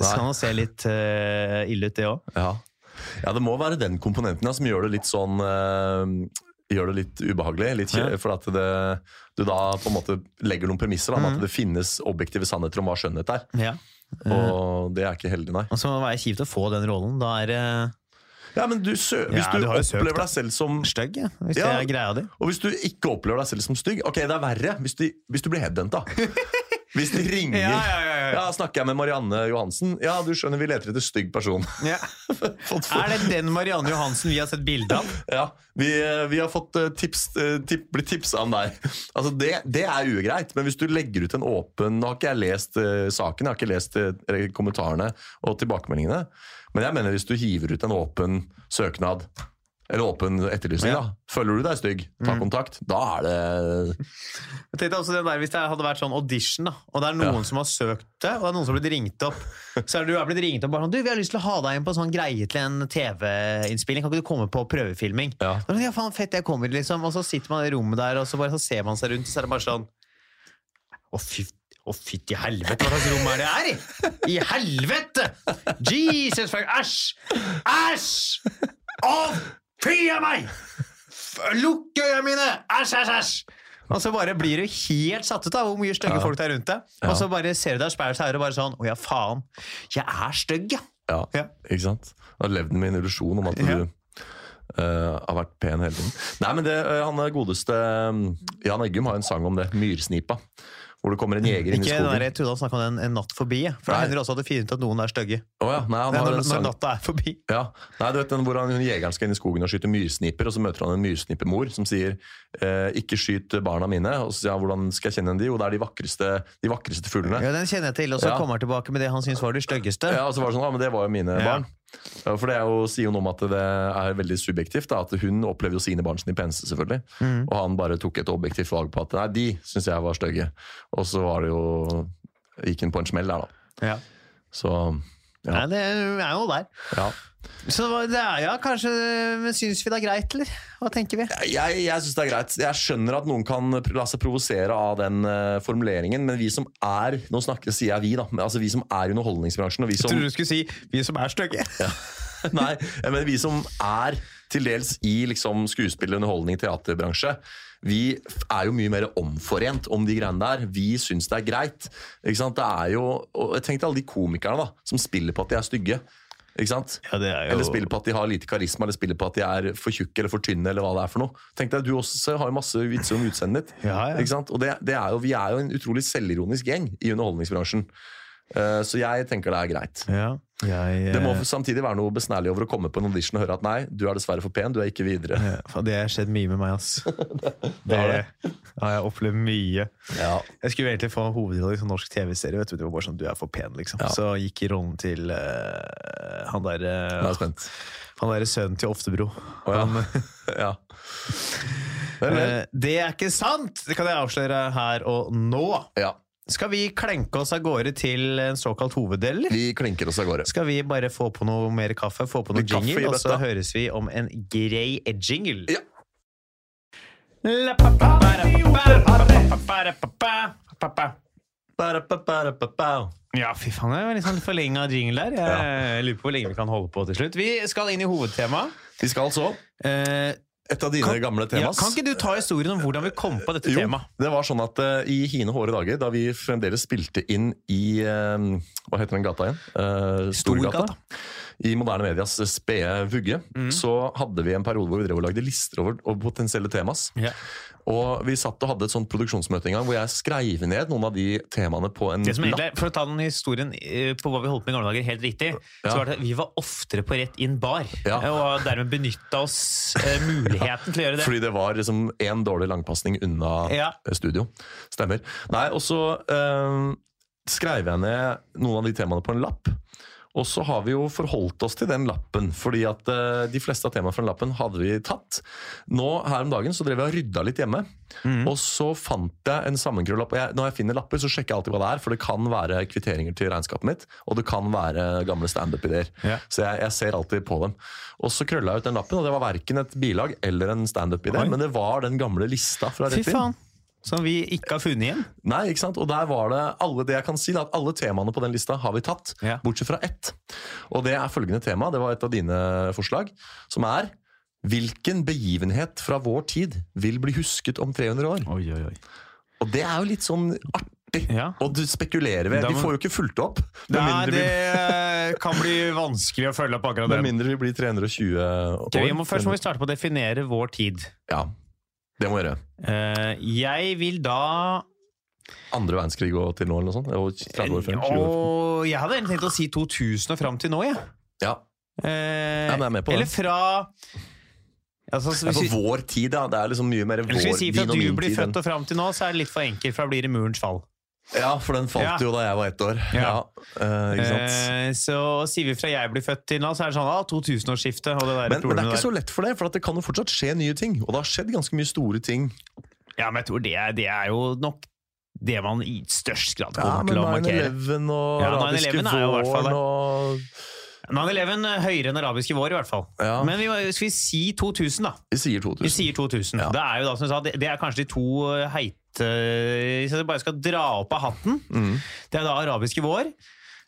[SPEAKER 2] Så kan det se litt eh, ille ut, det òg.
[SPEAKER 3] Ja. ja, det må være den komponenten ja, som gjør det litt sånn eh, Gjør det litt ubehagelig. Litt, kje-
[SPEAKER 2] Ja.
[SPEAKER 3] For at det, du da på en måte legger noen premisser da, om
[SPEAKER 2] Mm.
[SPEAKER 3] at det finnes objektive sannheter om hva skjønnhet er.
[SPEAKER 2] Ja.
[SPEAKER 3] Og det er ikke heldig, nei.
[SPEAKER 2] Og så må det være kjipt å få den rollen. Da er det
[SPEAKER 3] Ja, men du sø Hvis
[SPEAKER 2] Ja,
[SPEAKER 3] du,
[SPEAKER 2] du har jo søkt,
[SPEAKER 3] opplever
[SPEAKER 2] da.
[SPEAKER 3] deg selv som
[SPEAKER 2] stygg, ja, hvis det
[SPEAKER 3] Ja.
[SPEAKER 2] er greia di.
[SPEAKER 3] Og hvis du ikke opplever deg selv som stygg Ok, det er verre hvis du, hvis du blir headhunta. Hvis de ringer
[SPEAKER 2] Ja, ja, ja, ja.
[SPEAKER 3] snakker jeg med Marianne Johansen? Ja, du skjønner, vi leter etter stygg person. Fått-
[SPEAKER 2] Er det den Marianne Johansen vi har sett bilde av?
[SPEAKER 3] Ja, vi, vi har fått eh, tips, eh, tip, blitt tipsa om deg. Altså, det, det er ugreit, men hvis du legger ut en åpen Nå har ikke jeg lest eh, saken, jeg har ikke lest eh, kommentarene og tilbakemeldingene, men jeg mener hvis du hiver ut en åpen søknad eller åpen etterlysning,
[SPEAKER 2] Ja. Mm.
[SPEAKER 3] da. Føler du deg stygg, ta kontakt. Da er det
[SPEAKER 2] Jeg tenkte også det der, Hvis det hadde vært sånn audition, da, og det er noen som har søkt det, og det er noen som har blitt ringt opp Så er det du er blitt ringt opp bare sånn Du, vi har lyst til å ha deg inn på en sånn greie til en TV-innspilling. Kan ikke du komme på prøvefilming? Da
[SPEAKER 3] Ja.
[SPEAKER 2] er det sånn, ja, faen, fett, jeg kommer, liksom. Og så sitter man i rommet der, og så, bare, så ser man seg rundt, og så er det bare sånn Å, fy å, fytti helvete, hva slags rom er det her i? I helvete! Jesus fuck, æsj! Æsj! Å, fy av meg! F- Lukk øya mine! Æsj, æsj, æsj! Og så bare blir du helt satt ut av hvor mye stygge
[SPEAKER 3] Ja.
[SPEAKER 2] folk det er rundt deg.
[SPEAKER 3] Ja.
[SPEAKER 2] Og så bare ser du deg i speilet her og bare sånn Å ja, faen. Jeg er stygg, ja.
[SPEAKER 3] Ja,
[SPEAKER 2] Ja.
[SPEAKER 3] ikke sant? Da levde den med en illusjon om at du
[SPEAKER 2] Ja.
[SPEAKER 3] eh, har vært pen hele tiden. Nei, men det, eh, han er godeste eh, Jan Eggum har en sang om det. 'Myrsnipa'. Hvor det kommer en jeger inn i
[SPEAKER 2] Ikke den der,
[SPEAKER 3] skogen.
[SPEAKER 2] jeg trodde han snakka om den en natt forbi. jeg. For
[SPEAKER 3] Nei.
[SPEAKER 2] det hender også at det finner ut at noen er stygge.
[SPEAKER 3] Å ja, nei, han
[SPEAKER 2] Nei,
[SPEAKER 3] har
[SPEAKER 2] Når,
[SPEAKER 3] en
[SPEAKER 2] når
[SPEAKER 3] sang
[SPEAKER 2] natta er forbi.
[SPEAKER 3] ja. Nei, du vet den hvor han, hun jegeren skal inn i skogen og skyte myrsniper, og så møter han en myrsnipemor som sier eh, 'ikke skyt barna mine'. Og så sier han 'hvordan skal jeg kjenne igjen de?' Jo, det er de vakreste, de vakreste fuglene.
[SPEAKER 2] Ja, Den kjenner jeg til, og så
[SPEAKER 3] Ja.
[SPEAKER 2] kommer han tilbake med det han syns var det styggeste.
[SPEAKER 3] Ja, og så var det sånn, ja, men det var jo
[SPEAKER 2] Ja.
[SPEAKER 3] mine barn. Ja, For det er jo, sier jo noe om at det er veldig subjektivt. Da, at Hun opplever jo sine barn som de peneste, selvfølgelig.
[SPEAKER 2] Mm.
[SPEAKER 3] Og han bare tok et objektivt valg på at nei, de syns jeg var stygge. Og så var det jo Gikk hun på en smell der, da.
[SPEAKER 2] Ja.
[SPEAKER 3] Så
[SPEAKER 2] Nei,
[SPEAKER 3] ja.
[SPEAKER 2] det er jo der.
[SPEAKER 3] ja.
[SPEAKER 2] Så det var- det er ja, kanskje Men syns vi det er greit, eller? Hva tenker vi?
[SPEAKER 3] Jeg, jeg syns det er greit. Jeg skjønner at noen kan pr- la seg provosere av den eh, formuleringen, men vi som er Nå snakker, sier jeg vi, da. Men, altså, vi som er i underholdningsbransjen, og vi som
[SPEAKER 2] du skulle si 'vi som er stygge'.
[SPEAKER 3] Nei, jeg mener vi som er til dels i liksom skuespill, underholdning, teaterbransje, vi er jo mye mer omforent om de greiene der. Vi syns det er greit. Ikke sant? Det er jo, og jeg tenkte alle de komikerne da, som spiller på at de er stygge. Ikke sant?
[SPEAKER 2] Ja, det er jo-
[SPEAKER 3] Eller spiller på at de har lite karisma, eller spiller på at de er for tjukke eller for tynne. eller hva det er for noe. Tenk deg, Du også har jo masse vitser om utseendet ditt.
[SPEAKER 2] Ja, ja.
[SPEAKER 3] Ikke sant? Og det, det er jo, Vi er jo en utrolig selvironisk gjeng i underholdningsbransjen. Eh, Så jeg tenker det er greit.
[SPEAKER 2] Ja, jeg,
[SPEAKER 3] Det må samtidig være noe besnærlig over å komme på en audition og høre at nei, du er dessverre for pen, du er ikke videre.
[SPEAKER 2] eh, faen, det har skjedd mye med meg, ass. Det
[SPEAKER 3] har
[SPEAKER 2] har jeg opplevd mye.
[SPEAKER 3] Ja.
[SPEAKER 2] Jeg skulle egentlig få hovedrollen i sånn norsk TV-serie. vet du, Det var bare sånn 'du er for pen', liksom.
[SPEAKER 3] Ja.
[SPEAKER 2] Så gikk rollen til eh, han derre
[SPEAKER 3] Jeg er spent.
[SPEAKER 2] Han derre sønnen til Oftebro.
[SPEAKER 3] Å, ja. ja. Vel, vel.
[SPEAKER 2] Eh, Det er ikke sant! Det kan jeg avsløre her og nå.
[SPEAKER 3] ja.
[SPEAKER 2] Skal vi klenke oss av gårde til en såkalt hoveddel, eller?
[SPEAKER 3] Vi klinker oss av gårde.
[SPEAKER 2] Skal vi bare få på noe mer kaffe, få på noe
[SPEAKER 3] Litt kaffe i
[SPEAKER 2] jingle, og så
[SPEAKER 3] bøtta.
[SPEAKER 2] høres vi om en grei jingle?
[SPEAKER 3] Ja.
[SPEAKER 2] La pa pa pa ra pa pa pa ra pa pa pa pa pa.
[SPEAKER 3] Ba-da-ba-ba-da-ba-bao.
[SPEAKER 2] Ja, fy faen, det var litt sånn forlenga jingle der. Jeg lurer på hvor lenge vi kan holde på til slutt. Vi skal inn i hovedtemaet.
[SPEAKER 3] Vi skal altså
[SPEAKER 2] Eh,
[SPEAKER 3] Et av dine gamle
[SPEAKER 2] ja,
[SPEAKER 3] temas.
[SPEAKER 2] kan ikke du ta historien om hvordan vi kom på dette
[SPEAKER 3] Jo,
[SPEAKER 2] temaet?
[SPEAKER 3] det var sånn at eh, i hine hårde dager, da vi fremdeles spilte inn i eh, Hva heter den gata igjen? Eh, Storgata. I Moderne Medias spede vugge.
[SPEAKER 2] Mm.
[SPEAKER 3] Så hadde vi en periode hvor vi drev og lagde lister over, over potensielle temas.
[SPEAKER 2] Ja.
[SPEAKER 3] Og vi satt og hadde et sånt produksjonsmøte en gang hvor jeg skrev ned noen av de temaene på en
[SPEAKER 2] Det som
[SPEAKER 3] lapp.
[SPEAKER 2] egentlig, er- for å ta den historien eh, på hva vi holdt på med i gamle dager, helt riktig, så
[SPEAKER 3] Ja.
[SPEAKER 2] var det at vi var oftere på rett inn bar, eh,
[SPEAKER 3] Ja.
[SPEAKER 2] og dermed benytta oss eh, muligheten til å gjøre det.
[SPEAKER 3] Fordi det var liksom én dårlig langpasning unna
[SPEAKER 2] Ja.
[SPEAKER 3] eh, studio. Stemmer. Nei, og så eh, skrev jeg ned noen av de temaene på en lapp. Og så har vi jo forholdt oss til den lappen, fordi at eh, de fleste av temaene fra den lappen hadde vi tatt. Nå her om dagen så drev jeg og rydda litt hjemme,
[SPEAKER 2] Mhm.
[SPEAKER 3] og så fant jeg en sammenkrølla lapp. Og jeg, når jeg finner lapper, så sjekker jeg alltid hva det er, for det kan være kvitteringer til regnskapet mitt, og det kan være gamle standup-ideer.
[SPEAKER 2] Ja.
[SPEAKER 3] Så jeg, jeg ser alltid på dem. Og så krølla jeg ut den lappen, og det var verken et bilag eller en standup-idé,
[SPEAKER 2] Oi.
[SPEAKER 3] men det var den gamle lista fra
[SPEAKER 2] Fy
[SPEAKER 3] Rett inn.
[SPEAKER 2] faen! Som vi ikke har funnet igjen.
[SPEAKER 3] Nei, ikke sant? Og der var det alle det jeg kan si, da, at alle temaene på den lista har vi tatt,
[SPEAKER 2] Ja.
[SPEAKER 3] bortsett fra ett. Og det er følgende tema, det var et av dine forslag, som er Hvilken begivenhet fra vår tid vil bli husket om 300 år?
[SPEAKER 2] Oi, oi, oi.
[SPEAKER 3] Og det er jo litt sånn artig.
[SPEAKER 2] Ja.
[SPEAKER 3] Og du spekulerer ved
[SPEAKER 2] Da
[SPEAKER 3] Vi
[SPEAKER 2] må-
[SPEAKER 3] får jo ikke fulgt opp. Med
[SPEAKER 2] Nei,
[SPEAKER 3] mindre,
[SPEAKER 2] det eh, kan bli vanskelig å følge opp
[SPEAKER 3] vi,
[SPEAKER 2] akkurat
[SPEAKER 3] med
[SPEAKER 2] det.
[SPEAKER 3] mindre vi blir 320 år.
[SPEAKER 2] Ok, vi må, først må vi starte på å definere vår tid.
[SPEAKER 3] Ja, det må vi gjøre.
[SPEAKER 2] Eh, jeg vil da
[SPEAKER 3] Andre verdenskrig og til nå, eller noe sånt? Og 30 år frem, 20 år frem.
[SPEAKER 2] Og jeg hadde egentlig tenkt å si 2000 og fram til nå, jeg.
[SPEAKER 3] Ja.
[SPEAKER 2] Eh,
[SPEAKER 3] men jeg er med på
[SPEAKER 2] eller
[SPEAKER 3] det.
[SPEAKER 2] fra altså, så
[SPEAKER 3] Det er
[SPEAKER 2] hvis vi-
[SPEAKER 3] på vår tid, da. Det er liksom mye mer
[SPEAKER 2] Eller
[SPEAKER 3] vår,
[SPEAKER 2] skal vi si fra
[SPEAKER 3] din og
[SPEAKER 2] du
[SPEAKER 3] min
[SPEAKER 2] blir
[SPEAKER 3] tid. enn-
[SPEAKER 2] født og fram til nå, så er det litt for enkelt, for da blir det murens fall.
[SPEAKER 3] Ja, for den falt
[SPEAKER 2] Ja.
[SPEAKER 3] jo da jeg var ett år.
[SPEAKER 2] Ja.
[SPEAKER 3] Ja. eh, ikke sant?
[SPEAKER 2] Eh, så sier vi fra jeg blir født til nå, så er det sånn ah, 2000-årsskiftet og det der
[SPEAKER 3] Men, men det er
[SPEAKER 2] problemet
[SPEAKER 3] ikke
[SPEAKER 2] der.
[SPEAKER 3] så lett for det, for at det kan jo fortsatt skje nye ting. Og det har skjedd ganske mye store ting.
[SPEAKER 2] Ja, men jeg tror det er, det er jo nok det man i størst grad
[SPEAKER 3] Ja,
[SPEAKER 2] kommer
[SPEAKER 3] men
[SPEAKER 2] til å markere.
[SPEAKER 3] 9-11 og
[SPEAKER 2] Ja, 9/11
[SPEAKER 3] arabiske
[SPEAKER 2] er jo i hvert fall det.
[SPEAKER 3] våren og
[SPEAKER 2] 9-11 eh, høyere enn arabiske vår, i hvert fall.
[SPEAKER 3] Ja.
[SPEAKER 2] Men vi, må- skal vi si 2000, da?
[SPEAKER 3] Vi
[SPEAKER 2] Vi
[SPEAKER 3] sier 2000.
[SPEAKER 2] sier 2000. Det, er jo da, som du sa, det, det er kanskje de to eh, heite Hvis jeg bare skal dra opp av hatten
[SPEAKER 3] Mm.
[SPEAKER 2] Det er da arabiske vår.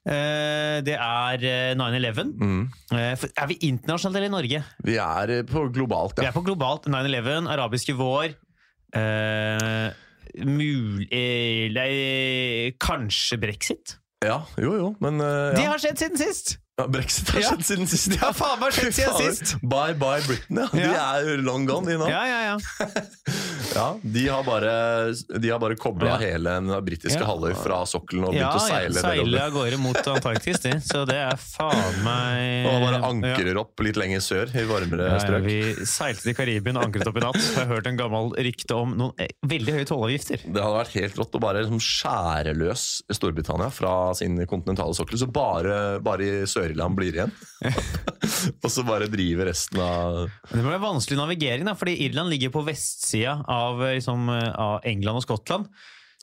[SPEAKER 2] eh, Det er eh, 9-11.
[SPEAKER 3] Mm.
[SPEAKER 2] Eh, for- Er vi internasjonalt eller i Norge?
[SPEAKER 3] Vi er eh, på globalt,
[SPEAKER 2] Vi
[SPEAKER 3] ja.
[SPEAKER 2] er på globalt. 9-11, arabiske vår eh, mul... eh, Nei, kanskje brexit?
[SPEAKER 3] ja. Jo, jo, men eh,
[SPEAKER 2] Det
[SPEAKER 3] ja.
[SPEAKER 2] har skjedd siden sist!
[SPEAKER 3] Ja, Brexit har
[SPEAKER 2] Ja.
[SPEAKER 3] skjedd siden sist.
[SPEAKER 2] Det har faen meg skjedd siden
[SPEAKER 3] Fy faen.
[SPEAKER 2] sist!
[SPEAKER 3] Bye bye Britain, ja. De
[SPEAKER 2] Ja.
[SPEAKER 3] er long gone, de nå.
[SPEAKER 2] Ja, ja, ja.
[SPEAKER 3] Ja, de har bare, de har bare kobla
[SPEAKER 2] Ja.
[SPEAKER 3] hele den britiske
[SPEAKER 2] Ja.
[SPEAKER 3] halvøy fra sokkelen og begynt
[SPEAKER 2] Ja, ja,
[SPEAKER 3] å seile.
[SPEAKER 2] seile
[SPEAKER 3] seile.
[SPEAKER 2] av gårde mot Antarktis, de. Så det er faen meg
[SPEAKER 3] Og bare
[SPEAKER 2] Eh, Ja.
[SPEAKER 3] ankrer opp litt lenger sør, i varmere
[SPEAKER 2] Ja, ja,
[SPEAKER 3] strøk.
[SPEAKER 2] vi seilte til Karibien og ankret opp i natt. Jeg har hørt en gammel rykte om noen eh, veldig høye tollavgifter.
[SPEAKER 3] Det hadde vært helt rått å bare liksom skjære løs Storbritannia fra sin kontinentale sokkel, så bare, bare i Sør-Irland blir igjen. og så bare driver resten av
[SPEAKER 2] Det ble vanskelig navigering, da, fordi Irland ligger på vestsida av, eh, liksom, eh, av England og Skottland.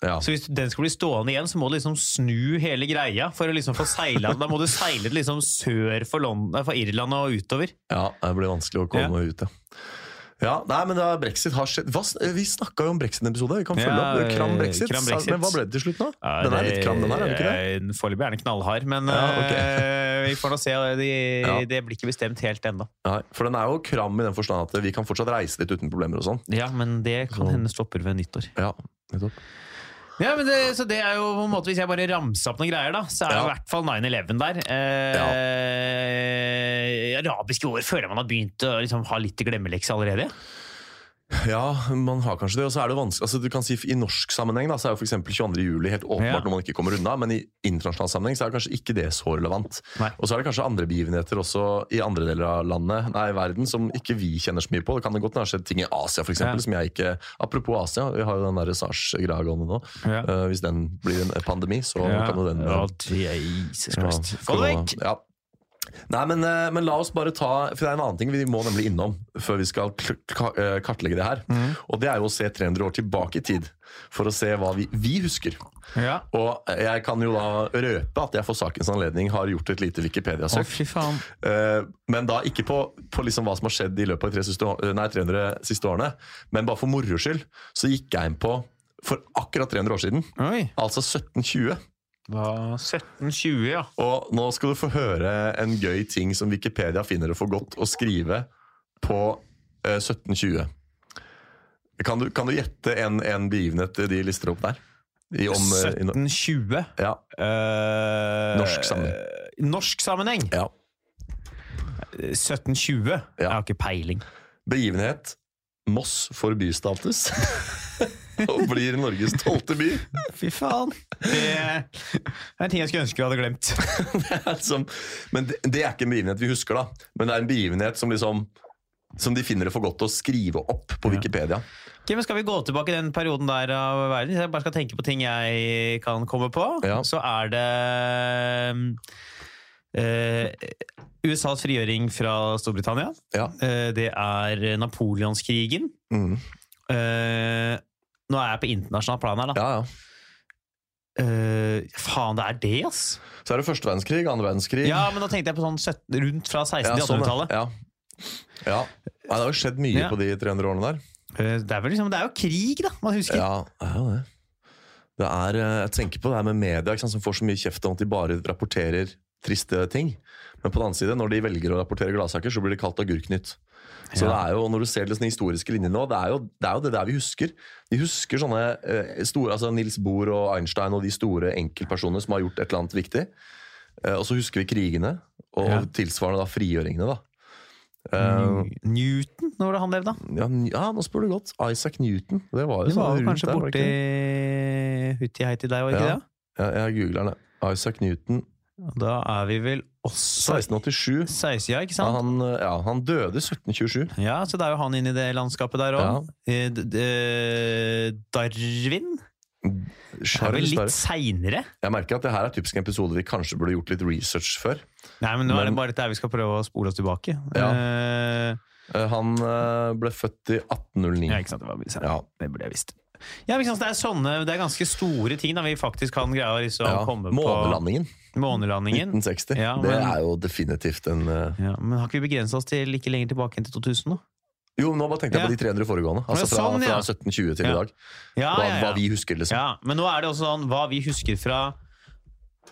[SPEAKER 3] ja.
[SPEAKER 2] Så hvis den skal bli stående igjen, så må du liksom snu hele greia for å liksom få seila den. Da må du seile den liksom sør for, London, nei, for Irland og utover.
[SPEAKER 3] Ja, det blir vanskelig å komme ut, ja. Ja, nei, men da brexit har skjedd hva, sn- Vi snakka jo om brexit en episode. Vi kan følge
[SPEAKER 2] Ja,
[SPEAKER 3] opp. Kram
[SPEAKER 2] eh,
[SPEAKER 3] brexit.
[SPEAKER 2] kram brexit.
[SPEAKER 3] Men hva ble det til slutt nå? den er litt kram, den her, er det ikke det?
[SPEAKER 2] det? Foreløpig er den knallhard, men
[SPEAKER 3] Ja, ok.
[SPEAKER 2] eh, vi får nå se. De,
[SPEAKER 3] Ja.
[SPEAKER 2] Det blir ikke bestemt helt ennå.
[SPEAKER 3] Nei, for den er jo kram i den forstand at vi kan fortsatt reise litt uten problemer og sånn.
[SPEAKER 2] Ja, men det kan
[SPEAKER 3] Så-
[SPEAKER 2] hende stopper ved nyttår.
[SPEAKER 3] Ja, nettopp.
[SPEAKER 2] Ja, men det, så det er jo på en måte Hvis jeg bare ramser opp noen greier, da, så er det
[SPEAKER 3] Ja.
[SPEAKER 2] i hvert fall 9-11 der. Eh, Arabiske år føler jeg man har begynt å liksom, ha litt glemmelekse allerede.
[SPEAKER 3] Ja, man har kanskje det, og så er det vanskelig altså, du kan si I norsk sammenheng da, så er jo for eksempel 22. juli helt
[SPEAKER 2] Ja.
[SPEAKER 3] åpenbart når man ikke kommer unna, men i internasjonal sammenheng så er kanskje ikke det så relevant.
[SPEAKER 2] Nei.
[SPEAKER 3] Og så er det kanskje andre begivenheter også i andre deler av landet, nei, verden, som ikke vi kjenner så mye på. Det kan godt ha skjedd ting i Asia, for
[SPEAKER 2] Ja.
[SPEAKER 3] eksempel, som jeg ikke Apropos Asia, vi har jo den der SARS-greia gående nå.
[SPEAKER 2] Ja.
[SPEAKER 3] Eh, hvis den blir en pandemi, så kan jo den
[SPEAKER 2] Ja, Jesus
[SPEAKER 3] ja,
[SPEAKER 2] Christ. Få det
[SPEAKER 3] korona.
[SPEAKER 2] vekk!
[SPEAKER 3] Ja. Nei, men, eh, men la oss bare ta For det er en annen ting vi må nemlig innom før vi skal k- ka- eh, kartlegge det her. Og det er jo å se 300 år tilbake i tid for å se hva vi, vi husker.
[SPEAKER 2] Ja.
[SPEAKER 3] Og jeg kan jo da røpe at jeg for sakens anledning har gjort et lite
[SPEAKER 2] Å,
[SPEAKER 3] Wikipedia-søk.
[SPEAKER 2] fy faen.
[SPEAKER 3] Eh, Men da ikke på, på liksom hva som har skjedd i løpet av de tre siste, å- nei, 300 siste årene, men bare for moro skyld så gikk jeg inn på for akkurat 300 år siden.
[SPEAKER 2] Oi.
[SPEAKER 3] Altså 1720.
[SPEAKER 2] Da 1720, ja.
[SPEAKER 3] Og nå skal du få høre en gøy ting som Wikipedia finner det for godt å skrive på eh, 1720. Kan du, kan du gjette en, en begivenhet de lister opp der? I om, eh, i no-
[SPEAKER 2] 1720.
[SPEAKER 3] ja.
[SPEAKER 2] Eh,
[SPEAKER 3] Norsk sammenheng.
[SPEAKER 2] Norsk sammenheng.
[SPEAKER 3] ja.
[SPEAKER 2] 1720. Jeg har ikke peiling.
[SPEAKER 3] Begivenhet Moss får bystatus. Og blir Norges tolvte by.
[SPEAKER 2] Fy faen. Det er en ting jeg skulle ønske vi hadde glemt.
[SPEAKER 3] som, men det, det er ikke en begivenhet vi husker, da. Men det er en begivenhet som liksom som de finner det for godt å skrive opp på Wikipedia.
[SPEAKER 2] Ok, men Skal vi gå tilbake i den perioden der av verden? Hvis jeg bare skal tenke på ting jeg kan komme på,
[SPEAKER 3] Ja.
[SPEAKER 2] så er det eh, USAs frigjøring fra Storbritannia.
[SPEAKER 3] Ja.
[SPEAKER 2] Eh, det er Napoleonskrigen.
[SPEAKER 3] Mm.
[SPEAKER 2] Eh, nå er jeg på internasjonal plan her, da.
[SPEAKER 3] ja, ja.
[SPEAKER 2] Eh, faen, det er det, ass!
[SPEAKER 3] Så er det første verdenskrig, andre verdenskrig.
[SPEAKER 2] Ja, men da tenkte jeg på sånn 17, rundt fra 16
[SPEAKER 3] Ja,
[SPEAKER 2] til
[SPEAKER 3] sånn,
[SPEAKER 2] 1800-tallet.
[SPEAKER 3] ja. ja. ja. Nei, det har jo skjedd mye
[SPEAKER 2] Ja.
[SPEAKER 3] på de 300 årene der.
[SPEAKER 2] Eh, det, er vel liksom, det er jo krig, da! Man husker.
[SPEAKER 3] Ja, det er jo det. Det er, eh, jeg tenker på det her med media, ikke sant, som får så mye kjeft om at de bare rapporterer triste ting. Men på den annen side, når de velger å rapportere gladsaker, så blir det kalt Agurknytt. Så det
[SPEAKER 2] Ja.
[SPEAKER 3] er jo, når du ser liksom de historiske linjene nå, det er, jo, det er jo det der vi husker. Vi husker sånne eh, store, altså Nils Bohr og Einstein og de store enkeltpersonene som har gjort et eller annet viktig. Eh, og så husker vi krigene, og
[SPEAKER 2] Ja. Mm.
[SPEAKER 3] tilsvarende da frigjøringene, da. eh,
[SPEAKER 2] New- Newton, når var det han levde, da?
[SPEAKER 3] Ja, n- ja, nå spør du godt. Isaac Newton. Det var jo
[SPEAKER 2] Du
[SPEAKER 3] sånn
[SPEAKER 2] var jo
[SPEAKER 3] rundt
[SPEAKER 2] kanskje
[SPEAKER 3] der, var det
[SPEAKER 2] borti
[SPEAKER 3] ikke det?
[SPEAKER 2] hutti-heiti deg, var det ikke
[SPEAKER 3] Ja.
[SPEAKER 2] det?
[SPEAKER 3] Ja, jeg googler det. Isaac Newton,
[SPEAKER 2] Da er vi vel også
[SPEAKER 3] 1687.
[SPEAKER 2] 16, ja, ikke
[SPEAKER 3] Ja,
[SPEAKER 2] sant?
[SPEAKER 3] han, eh, ja, han døde 1727.
[SPEAKER 2] Ja, så det er jo han inni det landskapet der Eh, òg. eh, Darwin? Det er vel
[SPEAKER 3] Charles
[SPEAKER 2] litt
[SPEAKER 3] Darwin.
[SPEAKER 2] seinere?
[SPEAKER 3] Jeg merker at det her er typisk en episode vi kanskje burde gjort litt research før.
[SPEAKER 2] Nei, men nå er
[SPEAKER 3] Men-
[SPEAKER 2] det bare dette her vi skal prøve å spole oss tilbake.
[SPEAKER 3] Ja.
[SPEAKER 2] Eh,
[SPEAKER 3] Eh, Han eh, ble født i 1809.
[SPEAKER 2] ja, ikke sant? Det var mye seinere.
[SPEAKER 3] Ja.
[SPEAKER 2] Det burde jeg visst. Ja, ikke sant? Det er sånne, det er ganske store ting da vi faktisk kan greie å liksom
[SPEAKER 3] Ja.
[SPEAKER 2] komme
[SPEAKER 3] Månelandingen
[SPEAKER 2] på. Månelandingen.
[SPEAKER 3] 1960.
[SPEAKER 2] Ja,
[SPEAKER 3] Det
[SPEAKER 2] men-
[SPEAKER 3] er jo definitivt en eh,
[SPEAKER 2] Ja, men har ikke vi begrensa oss til ikke lenger tilbake enn til 2000, da?
[SPEAKER 3] Jo, nå bare tenkte jeg
[SPEAKER 2] Ja.
[SPEAKER 3] på de 300 foregående. Altså fra,
[SPEAKER 2] sånn,
[SPEAKER 3] fra
[SPEAKER 2] ja.
[SPEAKER 3] 1720 til i
[SPEAKER 2] Ja.
[SPEAKER 3] dag.
[SPEAKER 2] Ja,
[SPEAKER 3] Hva,
[SPEAKER 2] ja, ja.
[SPEAKER 3] hva vi husker, liksom.
[SPEAKER 2] Ja, men nå er det også sånn hva vi husker fra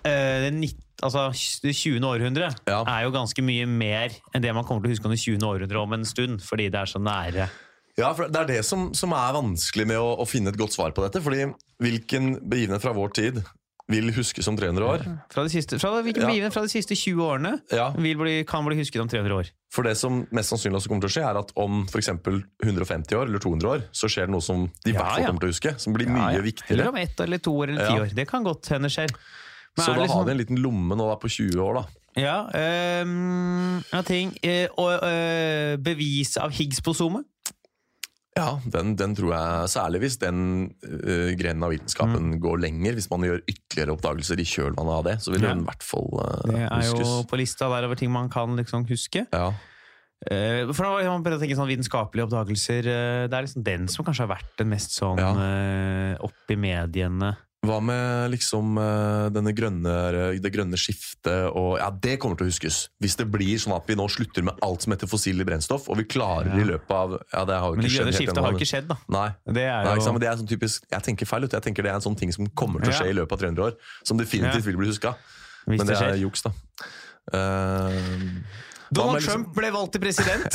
[SPEAKER 2] eh, det, nitt- altså, det 20. århundret,
[SPEAKER 3] Ja.
[SPEAKER 2] er jo ganske mye mer enn det man kommer til å huske om det 20. århundret om en stund, fordi det er så nære.
[SPEAKER 3] Ja, for Det er det som, som er vanskelig med å, å finne et godt svar på dette. fordi hvilken begivenhet fra vår tid vil huskes om 300 år?
[SPEAKER 2] Fra de siste, fra, hvilken
[SPEAKER 3] Ja.
[SPEAKER 2] begivenhet fra de siste 20 årene
[SPEAKER 3] Ja,
[SPEAKER 2] vil bli, kan bli husket om 300 år?
[SPEAKER 3] For det som mest sannsynlig også kommer til å skje, er at om for eksempel 150 år eller 200 år, så skjer det noe som de i
[SPEAKER 2] Ja,
[SPEAKER 3] hvert fall
[SPEAKER 2] ja.
[SPEAKER 3] kommer til å huske. Som blir mye viktigere.
[SPEAKER 2] Eller om ett eller to år eller ti
[SPEAKER 3] Ja.
[SPEAKER 2] år. Det kan godt hende skjer. Men
[SPEAKER 3] Så
[SPEAKER 2] er
[SPEAKER 3] da
[SPEAKER 2] det
[SPEAKER 3] har
[SPEAKER 2] liksom-
[SPEAKER 3] de en liten lomme nå da på 20 år, da.
[SPEAKER 2] Ja, øhm, ja ting. eh, og eh, bevis av Higgs-bosomet.
[SPEAKER 3] Ja, den, den tror jeg Særlig hvis den øh, grenen av vitenskapen
[SPEAKER 2] Mm.
[SPEAKER 3] går lenger. Hvis man gjør ytterligere oppdagelser i kjølvannet av det, så vil
[SPEAKER 2] Ja.
[SPEAKER 3] den i hvert fall øh,
[SPEAKER 2] Det er jo
[SPEAKER 3] huskes.
[SPEAKER 2] på lista der over ting man kan liksom huske.
[SPEAKER 3] Ja.
[SPEAKER 2] Eh, For da man prøver å tenke sånn Vitenskapelige oppdagelser eh, Det er liksom den som kanskje har vært den mest sånn
[SPEAKER 3] Ja.
[SPEAKER 2] eh, opp i mediene.
[SPEAKER 3] Hva med liksom øh, denne grønne, eh, det grønne skiftet og Ja, det kommer til å huskes. Hvis det blir sånn at vi nå slutter med alt som heter fossile brennstoff, og vi klarer
[SPEAKER 2] Ja.
[SPEAKER 3] i løpet av Ja, det har jo
[SPEAKER 2] Men det
[SPEAKER 3] ikke
[SPEAKER 2] grønne
[SPEAKER 3] skjedd helt
[SPEAKER 2] skiftet
[SPEAKER 3] ennå.
[SPEAKER 2] har jo
[SPEAKER 3] men-
[SPEAKER 2] ikke skjedd, da.
[SPEAKER 3] Nei.
[SPEAKER 2] Det er
[SPEAKER 3] Nei, ikke sant?
[SPEAKER 2] jo
[SPEAKER 3] Men det er sånn typisk, jeg tenker feil ut. Jeg tenker det er en sånn ting som kommer til å skje
[SPEAKER 2] Ja.
[SPEAKER 3] i løpet av 300 år. Som definitivt
[SPEAKER 2] Ja.
[SPEAKER 3] vil bli huska.
[SPEAKER 2] Hvis det
[SPEAKER 3] Men det er
[SPEAKER 2] skjer.
[SPEAKER 3] juks, da. Eh, hva
[SPEAKER 2] Donald
[SPEAKER 3] med liksom-
[SPEAKER 2] Trump ble valgt til president!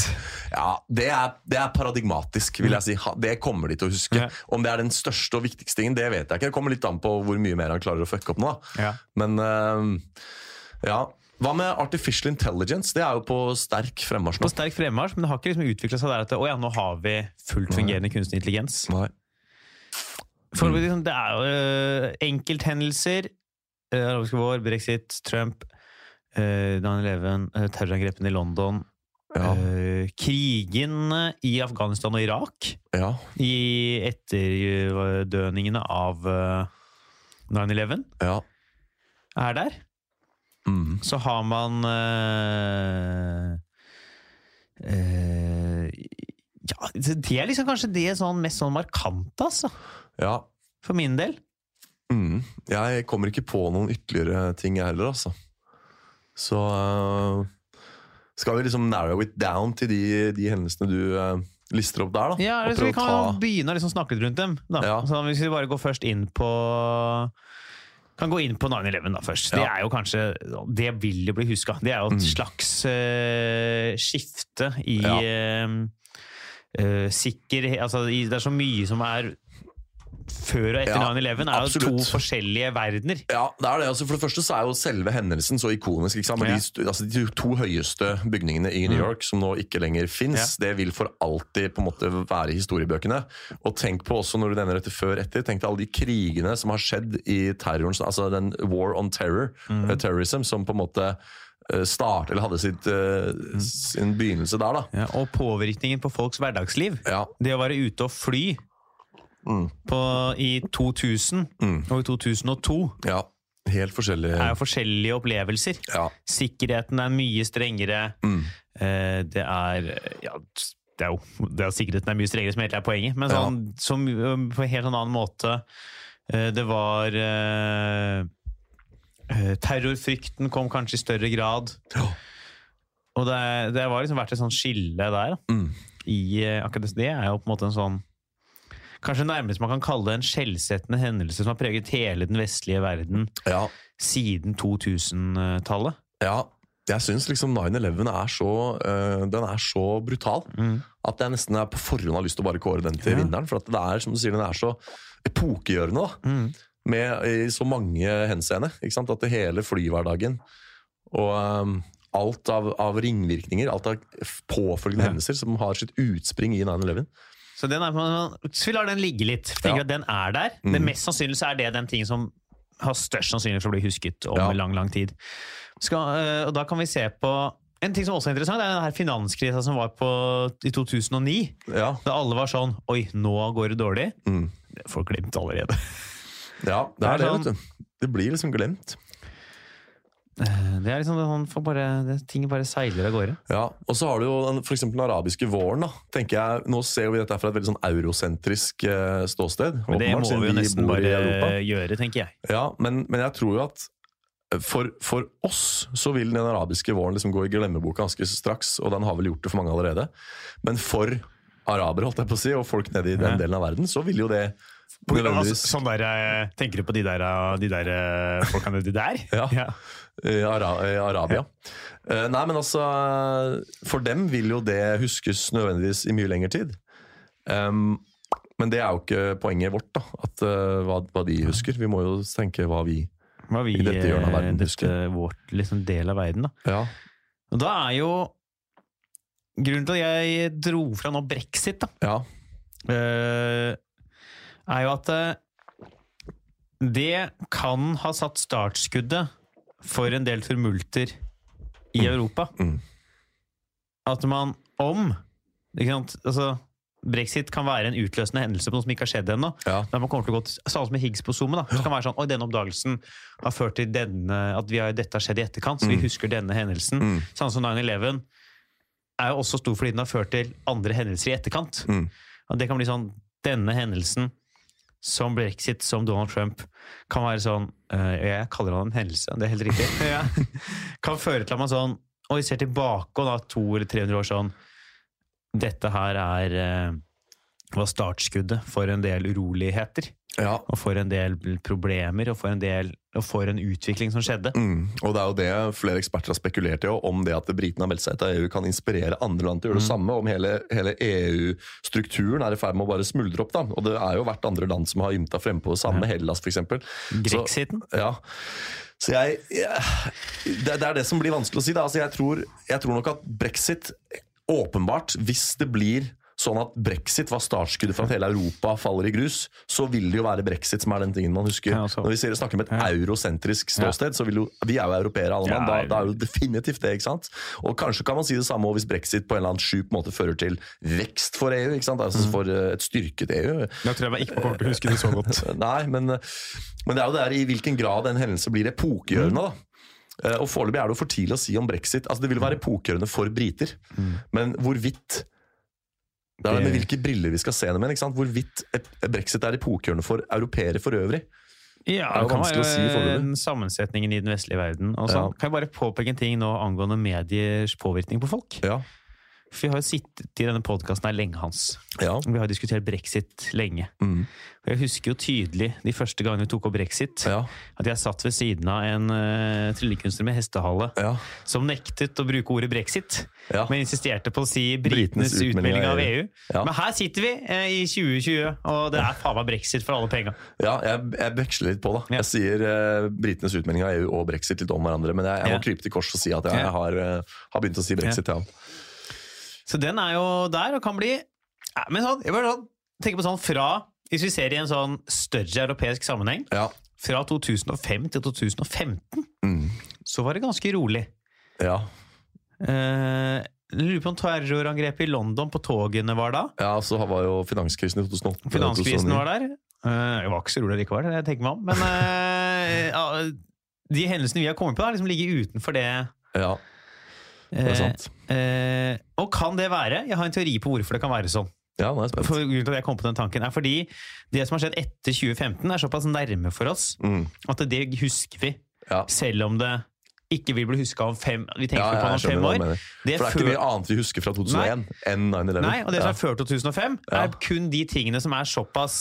[SPEAKER 3] ja, det er, det er paradigmatisk, vil jeg si. Ha- Det kommer de til å huske.
[SPEAKER 2] Ja.
[SPEAKER 3] Om det er den største og viktigste tingen, det vet jeg ikke. Det kommer litt an på hvor mye mer han klarer å fucke opp nå. Da.
[SPEAKER 2] Ja.
[SPEAKER 3] Men eh, ja. Hva med artificial intelligence? Det er jo på sterk fremmarsj
[SPEAKER 2] På
[SPEAKER 3] nå.
[SPEAKER 2] sterk fremmarsj, men det har ikke liksom utvikla seg der at å ja, nå har vi fullt fungerende kunstig intelligens.
[SPEAKER 3] Nei. Mm.
[SPEAKER 2] For liksom, det er jo øh, enkelthendelser. øh, Arabiske vår, brexit, Trump, øh, 9-11, øh, terrorangrepene i London,
[SPEAKER 3] Ja,
[SPEAKER 2] øh, krigene i Afghanistan og Irak.
[SPEAKER 3] ja.
[SPEAKER 2] i etterdøningene av eh, 9-11
[SPEAKER 3] ja.
[SPEAKER 2] er der,
[SPEAKER 3] Mm.
[SPEAKER 2] så har man eh, eh, Ja, det er liksom kanskje det sånn mest sånn markante, altså.
[SPEAKER 3] ja.
[SPEAKER 2] For min del.
[SPEAKER 3] Mm. Jeg kommer ikke på noen ytterligere ting jeg heller, altså. eh, Så øh, skal vi liksom narrow it down til de, de hendelsene du øh, lister opp der, da.
[SPEAKER 2] Ja,
[SPEAKER 3] og
[SPEAKER 2] eller så vi
[SPEAKER 3] prøve å
[SPEAKER 2] kan
[SPEAKER 3] ta-
[SPEAKER 2] begynne å liksom snakke litt rundt dem. Da.
[SPEAKER 3] Ja.
[SPEAKER 2] Så hvis vi bare går først inn på kan gå inn på 9-11 da først. Det
[SPEAKER 3] Ja. Mm.
[SPEAKER 2] er jo kanskje, det vil jo bli huska. Det er jo et slags eh, skifte i eh,
[SPEAKER 3] Ja.
[SPEAKER 2] sikkerhet altså, i, Det er så mye som er før og etter
[SPEAKER 3] Ja,
[SPEAKER 2] 9-11. er jo
[SPEAKER 3] absolutt.
[SPEAKER 2] to forskjellige verdener.
[SPEAKER 3] Ja, det er det. Altså, for det første så er jo selve hendelsen så ikonisk. Ikke sant? Men
[SPEAKER 2] Ja.
[SPEAKER 3] de, st- altså, de to høyeste bygningene i New York som nå ikke lenger fins, det vil for alltid på en måte være i historiebøkene. Og tenk på også når du nevner dette før etter, tenk deg alle de krigene som har skjedd i terroren, altså den war on terror, eh, terrorism, som på en måte eh, start, eller hadde sitt, eh, sin begynnelse der. da.
[SPEAKER 2] Ja, og påvirkningen på folks hverdagsliv.
[SPEAKER 3] Ja,
[SPEAKER 2] Det å være ute og fly
[SPEAKER 3] Mm.
[SPEAKER 2] på, i 2000 og i 2002
[SPEAKER 3] ja. Helt forskjellig.
[SPEAKER 2] er jo forskjellige opplevelser.
[SPEAKER 3] Ja. Mm.
[SPEAKER 2] Sikkerheten er mye strengere. Eh, Det er ja, det er jo det at sikkerheten er mye strengere som egentlig er poenget, men sånn, som, ø, på en helt annen måte. Eh, Det var eh, eh, Terrorfrykten kom kanskje i større grad.
[SPEAKER 3] Ja.
[SPEAKER 2] Og det, er- det har liksom vært et sånt skille der. da.
[SPEAKER 3] Mm.
[SPEAKER 2] I, eh, akkurat det- det er jo på en måte en sånn Kanskje nærmest man kan kalle det en skjellsettende hendelse som har preget hele den vestlige verden
[SPEAKER 3] ja.
[SPEAKER 2] siden 2000-tallet.
[SPEAKER 3] Ja, jeg syns liksom 9-11 er så eh, Den er så brutal at jeg nesten er på forhånd har lyst til å bare kåre den til vinneren. For at det er som du sier, den er så epokegjørende, da. Med, I så mange henseende. Ikke sant? At det hele flyhverdagen og eh, alt av, av ringvirkninger, alt av f- påfølgende hendelser som har sitt utspring i 9-11.
[SPEAKER 2] Så, den er, så vi lar den ligge litt. Tenker
[SPEAKER 3] Ja. Mm.
[SPEAKER 2] at den er der. Men mest sannsynlig så er det den ting som har størst sannsynlighet for å bli husket om
[SPEAKER 3] Ja.
[SPEAKER 2] lang, lang tid. Skal, eh, og da kan vi se på en ting som også er interessant, det er den her finanskrisa som var på, i 2009.
[SPEAKER 3] Ja.
[SPEAKER 2] Da alle var sånn Oi, nå går det dårlig.
[SPEAKER 3] Mm.
[SPEAKER 2] Det er Folk glemte allerede.
[SPEAKER 3] ja, det
[SPEAKER 2] Det er
[SPEAKER 3] er sånn det, vet du. Det blir liksom glemt.
[SPEAKER 2] Eh, Det er liksom sånn, for bare, det, Ting bare seiler av gårde.
[SPEAKER 3] Ja, og så har du jo den, for eksempel den arabiske våren. da, tenker jeg, Nå ser vi dette her fra et veldig sånn eurosentrisk eh, ståsted.
[SPEAKER 2] Men det
[SPEAKER 3] åpenbart,
[SPEAKER 2] må
[SPEAKER 3] siden
[SPEAKER 2] vi jo
[SPEAKER 3] vi
[SPEAKER 2] nesten
[SPEAKER 3] bor i
[SPEAKER 2] bare
[SPEAKER 3] Europa.
[SPEAKER 2] gjøre, tenker jeg.
[SPEAKER 3] Ja, men, men jeg tror jo at eh, for, for oss så vil den arabiske våren liksom gå i glemmeboka ganske straks, og den har vel gjort det for mange allerede. Men for arabere, holdt jeg på å si, og folk nede i den delen av verden, så vil jo det nødvendigvis
[SPEAKER 2] Altså, sånn der, eh, tenker du på de der, eh, de der eh, folka nedi der?
[SPEAKER 3] Ja. I, Ara i Arabia. Eh, nei, men altså For dem vil jo det huskes nødvendigvis i mye lengre tid. Em, men det er jo ikke poenget vårt, da. At, eh, hva, hva de husker. Vi må jo tenke hva vi
[SPEAKER 2] Hva vi,
[SPEAKER 3] I dette hjørnet av verden,
[SPEAKER 2] eh,
[SPEAKER 3] husker
[SPEAKER 2] dette vårt liksom, del av verden, da.
[SPEAKER 3] Ja.
[SPEAKER 2] Og da er jo Grunnen til at jeg dro fra nå brexit, da,
[SPEAKER 3] ja.
[SPEAKER 2] eh, er jo at eh, det kan ha satt startskuddet for en del turmulter i Europa.
[SPEAKER 3] mm.
[SPEAKER 2] At man om ikke sant? Altså, Brexit kan være en utløsende hendelse på noe som ikke har skjedd ennå.
[SPEAKER 3] ja.
[SPEAKER 2] Da man kommer til å gå til, Samme som med Higgs på Zoomet. da. Så kan det være sånn, Oi, denne oppdagelsen har ført til denne, at vi har, dette har skjedd i etterkant, så vi husker denne hendelsen.
[SPEAKER 3] Mm.
[SPEAKER 2] Samme som 9-11 er jo også stor fordi den har ført til andre hendelser i etterkant.
[SPEAKER 3] Mm.
[SPEAKER 2] Og det kan bli sånn Denne hendelsen, som brexit, som Donald Trump, kan være sånn eh, Jeg kaller han en hendelse, det er helt riktig. ja. Kan føre til at man sånn Oi, ser tilbake og da to eller 300 år sånn Dette her er eh, var startskuddet for en del uroligheter
[SPEAKER 3] ja.
[SPEAKER 2] og for en del problemer, og for en, del, og for en utvikling som skjedde.
[SPEAKER 3] Mm. Og det er jo det flere eksperter har spekulert i, og om det at britene har meldt seg ut av EU kan inspirere andre land til å gjøre det samme, om hele, hele EU-strukturen er i ferd med å bare smuldre opp. da. Og det er jo hvert andre land som har ymta frempå det samme, Hellas f.eks.
[SPEAKER 2] Grexiten?
[SPEAKER 3] Ja. Så jeg, jeg det, det er det som blir vanskelig å si. Da. Altså, jeg, tror, jeg tror nok at brexit åpenbart, hvis det blir sånn at brexit var startskuddet for at hele Europa faller i grus, så vil det jo være brexit som er den tingen man husker.
[SPEAKER 2] Ja, altså.
[SPEAKER 3] Når vi sier, snakker om et eurosentrisk ståsted, så vil jo Vi er jo europeere, alle mann. Da,
[SPEAKER 2] Ja,
[SPEAKER 3] da er jo definitivt det, ikke sant? Og kanskje kan man si det samme også hvis brexit på en eller annen sjuk måte fører til vekst for EU, ikke sant? Altså
[SPEAKER 2] Mm.
[SPEAKER 3] for eh, et styrket EU.
[SPEAKER 2] Da tror jeg meg ikke kommer til å huske det så godt.
[SPEAKER 3] Nei, men, men det er jo der i hvilken grad en hendelse blir
[SPEAKER 2] Mm.
[SPEAKER 3] epokegjørende, da. Eh, Og foreløpig er det jo for tidlig å si om brexit. Altså, det vil
[SPEAKER 2] Mm.
[SPEAKER 3] være epokegjørende for briter, men hvorvidt det er det med
[SPEAKER 2] Det-
[SPEAKER 3] hvilke briller vi skal se det med. ikke sant? Hvorvidt ep- brexit er epokegjørende for europeere for øvrig.
[SPEAKER 2] Ja,
[SPEAKER 3] Det er jo
[SPEAKER 2] det kan
[SPEAKER 3] vanskelig å
[SPEAKER 2] være
[SPEAKER 3] si foreløpig.
[SPEAKER 2] den sammensetningen i den vestlige verden. Og så
[SPEAKER 3] Ja.
[SPEAKER 2] kan jeg bare påpeke en ting nå angående mediers påvirkning på folk.
[SPEAKER 3] Ja.
[SPEAKER 2] For vi har jo sittet i denne podkasten her lenge, Hans.
[SPEAKER 3] Ja.
[SPEAKER 2] Vi har jo diskutert brexit lenge.
[SPEAKER 3] Mm.
[SPEAKER 2] Og jeg husker jo tydelig de første gangene vi tok opp brexit,
[SPEAKER 3] Ja.
[SPEAKER 2] at jeg satt ved siden av en uh, tryllekunstner med hestehale
[SPEAKER 3] Ja.
[SPEAKER 2] som nektet å bruke ordet brexit,
[SPEAKER 3] Ja.
[SPEAKER 2] men insisterte på å si britenes, utmelding av EU.
[SPEAKER 3] Ja.
[SPEAKER 2] Men her sitter vi eh, i 2020, og det er faen meg brexit for alle penga.
[SPEAKER 3] Ja, jeg, jeg veksler litt på, da.
[SPEAKER 2] Ja.
[SPEAKER 3] Jeg sier eh, britenes utmelding av EU og brexit litt om hverandre, men jeg, jeg må
[SPEAKER 2] Ja.
[SPEAKER 3] krype til kors og si at jeg,
[SPEAKER 2] Ja.
[SPEAKER 3] jeg har, eh, har begynt å si brexit, ja.
[SPEAKER 2] Så den er jo der, og kan bli ja, Men sånn, jeg bare sånn, tenker på sånn fra Hvis vi ser i en sånn større europeisk sammenheng,
[SPEAKER 3] Ja.
[SPEAKER 2] fra 2005 til 2015,
[SPEAKER 3] Mm.
[SPEAKER 2] så var det ganske rolig.
[SPEAKER 3] ja.
[SPEAKER 2] Eh, lurer på om terrorangrepet i London på togene var da.
[SPEAKER 3] ja så var jo finanskrisen i 2008.
[SPEAKER 2] Finanskrisen var der. Eh, jeg var ikke så rolig likevel, jeg tenker meg om. Men eh, ja, de hendelsene vi har kommet på, har liksom ligget utenfor det.
[SPEAKER 3] Ja, det
[SPEAKER 2] eh,
[SPEAKER 3] er sant.
[SPEAKER 2] eh, og kan det være? Jeg har en teori på hvorfor det kan være sånn.
[SPEAKER 3] Ja, nå er jeg spent.
[SPEAKER 2] For grunnen til at jeg kom på den tanken er fordi det som har skjedd etter 2015 er såpass nærme for oss
[SPEAKER 3] Mm.
[SPEAKER 2] at det husker vi,
[SPEAKER 3] Ja.
[SPEAKER 2] selv om det ikke vil bli huska om fem Vi tenker
[SPEAKER 3] Ja,
[SPEAKER 2] ikke
[SPEAKER 3] ja, jeg
[SPEAKER 2] på det om
[SPEAKER 3] skjønner
[SPEAKER 2] fem
[SPEAKER 3] hva du
[SPEAKER 2] år.
[SPEAKER 3] mener.
[SPEAKER 2] Det
[SPEAKER 3] For det er
[SPEAKER 2] før-
[SPEAKER 3] ikke mye annet vi husker fra 2001 enn 9-11.
[SPEAKER 2] Nei, og det som
[SPEAKER 3] ja.
[SPEAKER 2] er før 2005,
[SPEAKER 3] Ja.
[SPEAKER 2] er kun de tingene som er såpass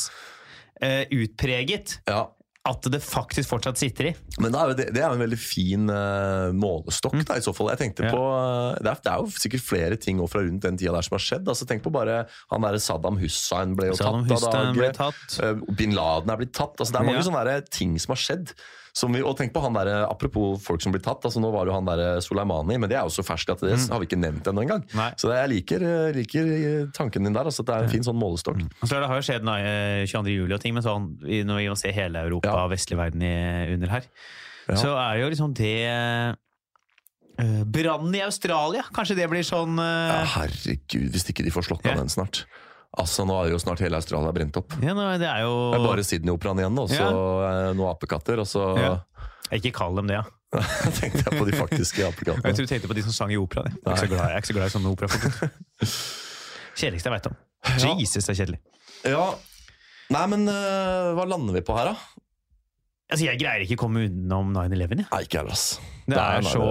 [SPEAKER 2] eh, utpreget
[SPEAKER 3] ja.
[SPEAKER 2] at det faktisk fortsatt sitter i.
[SPEAKER 3] Men det er, jo, det, det er jo en veldig fin eh, målestokk, da, i så fall. Jeg tenkte
[SPEAKER 2] Mm. Ja.
[SPEAKER 3] på, eh, det, er, det er jo sikkert flere ting også fra rundt den tida der som har skjedd. Altså, tenk på bare han derre Saddam Hussein ble jo
[SPEAKER 2] Saddam
[SPEAKER 3] tatt av
[SPEAKER 2] Hussein
[SPEAKER 3] dag.
[SPEAKER 2] ble tatt.
[SPEAKER 3] Eh, Bin Laden er blitt tatt. Altså, det er mange
[SPEAKER 2] Ja.
[SPEAKER 3] sånne der ting som har skjedd. Som vi, og tenk på han der, Apropos folk som blir tatt. Altså, nå var jo han der Soleimani, men det er jo så ferskt at det har vi ikke nevnt ennå engang.
[SPEAKER 2] Mm. Nei.
[SPEAKER 3] Så det, jeg liker, eh, liker eh, tanken din der. Altså, at det er en fin sånn målestokk.
[SPEAKER 2] Og så er Altså, det har jo skjedd nei, eh, 22. juli og ting, men sånn, i- når vi må se hele Europa
[SPEAKER 3] Ja.
[SPEAKER 2] og vestlig verden i, under her,
[SPEAKER 3] Ja.
[SPEAKER 2] så er jo liksom det eh, Brannen i Australia, kanskje det blir sånn
[SPEAKER 3] Ja,
[SPEAKER 2] eh,
[SPEAKER 3] herregud, hvis ikke de får slokka
[SPEAKER 2] Ja.
[SPEAKER 3] den snart. Altså, Nå er jo snart hele Australia brent opp.
[SPEAKER 2] ja, nå- Det er jo
[SPEAKER 3] Det er bare Sydney-operaen igjen, og så eh, noen apekatter. Og så
[SPEAKER 2] Ja. Ikke kall dem det, ja.
[SPEAKER 3] tenkte jeg på de faktiske
[SPEAKER 2] Jeg
[SPEAKER 3] apekattene.
[SPEAKER 2] tror du tenkte på de som sang i opera. Jeg er ikke så glad, jeg er ikke så glad i sånne operafolk. Kjedeligste jeg veit om.
[SPEAKER 3] Ja.
[SPEAKER 2] Jesus, det er kjedelig.
[SPEAKER 3] Ja. Nei, men eh, hva lander vi på her, da?
[SPEAKER 2] Altså, jeg greier ikke å komme unnom 9-11. jeg.
[SPEAKER 3] Nei, ikke heller, ass.
[SPEAKER 2] Det er
[SPEAKER 3] nei,
[SPEAKER 2] så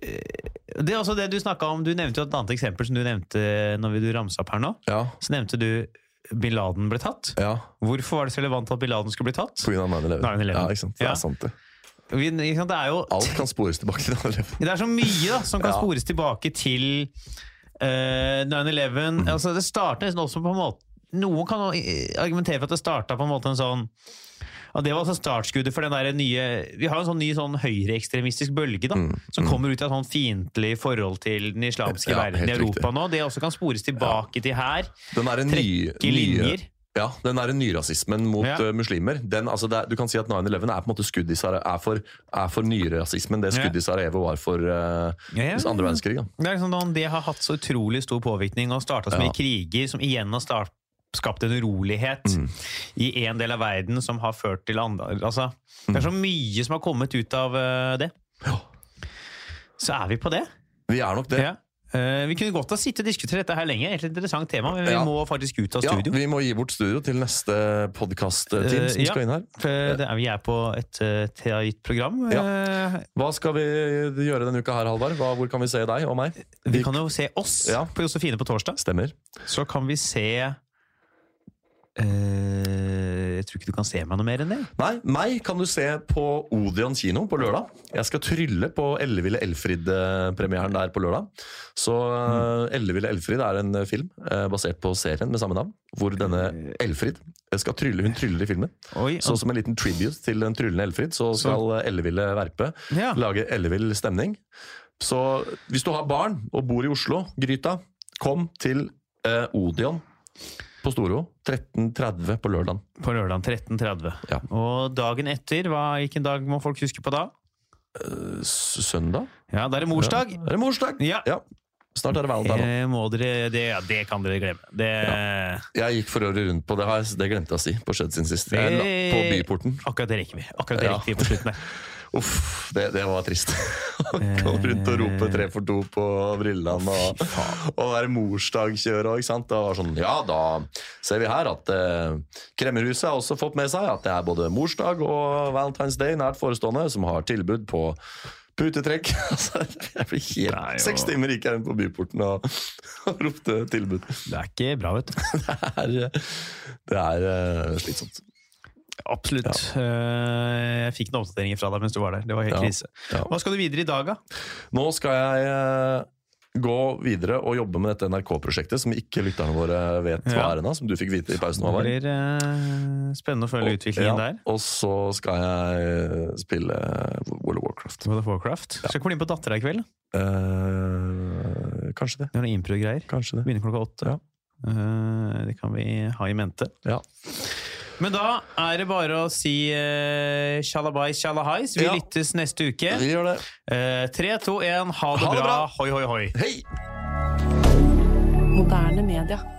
[SPEAKER 2] Eh, Det er også det du snakka om. Du nevnte jo et annet eksempel som du nevnte når vi- du ramsa opp her nå.
[SPEAKER 3] Ja,
[SPEAKER 2] Så nevnte du bin Laden ble tatt.
[SPEAKER 3] ja.
[SPEAKER 2] Hvorfor var det så relevant at bin Laden skulle bli tatt?
[SPEAKER 3] På grunn av 9-11.
[SPEAKER 2] 9/11.
[SPEAKER 3] Ja, ikke sant? Det
[SPEAKER 2] Ja.
[SPEAKER 3] er sant, det.
[SPEAKER 2] Vi, ikke sant, det er jo
[SPEAKER 3] Alt kan spores tilbake til 9-11.
[SPEAKER 2] Det er så mye da, som kan
[SPEAKER 3] Ja.
[SPEAKER 2] spores tilbake til eh, 9-11.
[SPEAKER 3] Mm.
[SPEAKER 2] Altså, det starter nesten også på en måte Noen kan eh, argumentere for at det starta på en måte en sånn at Det var altså startskuddet for den der nye Vi har jo en sånn ny sånn høyreekstremistisk bølge da, som kommer ut av sånn fiendtlig forhold til den islamske
[SPEAKER 3] Mm, Ja,
[SPEAKER 2] verden i
[SPEAKER 3] helt
[SPEAKER 2] Europa
[SPEAKER 3] riktig.
[SPEAKER 2] nå. Det også kan spores tilbake til her.
[SPEAKER 3] Den derre ny-
[SPEAKER 2] Trekke linjer.
[SPEAKER 3] Ja, den der nyrasismen mot
[SPEAKER 2] Ja.
[SPEAKER 3] eh, muslimer. Den, altså det, er- du kan si at 9-11 er på en måte skudd i Sara- er for, er for nyrasismen. Det skuddet i Sarajevo var for eh,
[SPEAKER 2] Ja, ja.
[SPEAKER 3] andre verdenskrig. Da.
[SPEAKER 2] Det, er liksom sånn, det har hatt så utrolig stor påvirkning og starta så
[SPEAKER 3] Ja.
[SPEAKER 2] mye kriger som igjen har start, skapt en urolighet
[SPEAKER 3] Mm.
[SPEAKER 2] i en del av verden som har ført til andre altså, Det
[SPEAKER 3] Mm.
[SPEAKER 2] er så mye som har kommet ut av eh, det.
[SPEAKER 3] Ja.
[SPEAKER 2] Så er vi på det.
[SPEAKER 3] Vi er nok det.
[SPEAKER 2] Ja. Eh, vi kunne godt ha sittet og diskutert dette her lenge. Egentlig et interessant tema, men vi
[SPEAKER 3] Ja.
[SPEAKER 2] må faktisk ut av
[SPEAKER 3] Ja,
[SPEAKER 2] studio.
[SPEAKER 3] vi må gi bort studio til neste podkast-team
[SPEAKER 2] Eh,
[SPEAKER 3] som
[SPEAKER 2] ja.
[SPEAKER 3] skal inn her.
[SPEAKER 2] For eh, det er, vi er på et uh, TAIT program.
[SPEAKER 3] Ja.
[SPEAKER 2] Eh,
[SPEAKER 3] Hva skal vi gjøre denne uka her, Halvard? Hva, hvor kan vi se deg og meg?
[SPEAKER 2] vi kan jo se oss
[SPEAKER 3] Ja.
[SPEAKER 2] på Josefine på torsdag.
[SPEAKER 3] Stemmer.
[SPEAKER 2] Så kan vi se eh, Jeg tror ikke du kan se meg noe mer enn det.
[SPEAKER 3] Nei, meg kan du se på Odeon kino på lørdag. Jeg skal trylle på Elleville Elfrid-premieren der på lørdag. Så eh, Elleville Elfrid er en eh, film eh, basert på serien med samme navn, hvor denne Elfrid eh, skal trylle. Hun tryller i filmen.
[SPEAKER 2] Oi,
[SPEAKER 3] Så som en liten tribute til den tryllende Elfrid, så skal eh, Elleville Verpe
[SPEAKER 2] Ja.
[SPEAKER 3] lage ellevill stemning. Så hvis du har barn og bor i Oslo, Gryta, kom til eh, Odeon på Storo 13.30 på lørdag.
[SPEAKER 2] På lørdag 13.30.
[SPEAKER 3] Ja.
[SPEAKER 2] Og dagen etter, hva, hvilken dag må folk huske på da?
[SPEAKER 3] Søndag?
[SPEAKER 2] Ja, da er det morsdag.
[SPEAKER 3] Ja. Er det morsdag?
[SPEAKER 2] Ja.
[SPEAKER 3] Snart er det valentine.
[SPEAKER 2] Eh, må dere, det, ja, det kan dere glemme. Det,
[SPEAKER 3] Jeg gikk for øvrig rundt på det, har jeg- det glemte jeg å si på Skjedd sin sist. Jeg la på
[SPEAKER 2] Eh.
[SPEAKER 3] Byporten.
[SPEAKER 2] Akkurat det rekker vi. Akkurat det
[SPEAKER 3] Ja.
[SPEAKER 2] rekker vi på slutten der.
[SPEAKER 3] Uff, det, det var trist. Å Gå
[SPEAKER 2] Eh.
[SPEAKER 3] rundt og rope 'tre for to' på brillene og, og være morsdagkjør og ikke sant. Det var sånn, ja, da ser vi her at eh, Kremmerhuset har også fått med seg at det er både morsdag og Valentine's Day nært forestående, som har tilbud på Putetrekk. Altså, jeg blir helt
[SPEAKER 2] Nei, jo.
[SPEAKER 3] Seks timer gikk jeg rundt på byporten og, og ropte tilbud.
[SPEAKER 2] Det er ikke bra, vet du.
[SPEAKER 3] Det er, eh, det er eh, slitsomt.
[SPEAKER 2] Absolutt. Eh, Jeg fikk en oppdatering fra deg mens du var der. Det var helt
[SPEAKER 3] Ja.
[SPEAKER 2] krise.
[SPEAKER 3] Ja.
[SPEAKER 2] Hva skal du videre i dag, da?
[SPEAKER 3] Nå skal jeg eh, gå videre og jobbe med dette NRK-prosjektet, som ikke lytterne våre vet hva
[SPEAKER 2] Ja.
[SPEAKER 3] er ennå, som du fikk vite i pausen.
[SPEAKER 2] Det
[SPEAKER 3] hva var.
[SPEAKER 2] blir eh, spennende å følge utviklingen der.
[SPEAKER 3] og så skal jeg eh, spille World of Warcraft.
[SPEAKER 2] World of Warcraft. Skal ikke bli med på Dattera i kveld.
[SPEAKER 3] Eh, kanskje det.
[SPEAKER 2] Det er noen impro-greier.
[SPEAKER 3] Kanskje det.
[SPEAKER 2] Begynner klokka åtte.
[SPEAKER 3] Ja.
[SPEAKER 2] Eh, det kan vi ha i mente.
[SPEAKER 3] Ja.
[SPEAKER 2] Men da er det bare å si eh, tjallabais, tjallahais. Vi
[SPEAKER 3] Ja.
[SPEAKER 2] lyttes neste uke.
[SPEAKER 3] Vi gjør det.
[SPEAKER 2] Eh, Tre, to, én, ha det
[SPEAKER 3] Ha det
[SPEAKER 2] bra.
[SPEAKER 3] bra.
[SPEAKER 2] Hoi, hoi, hoi.
[SPEAKER 3] Hei!
[SPEAKER 1] Moderne media.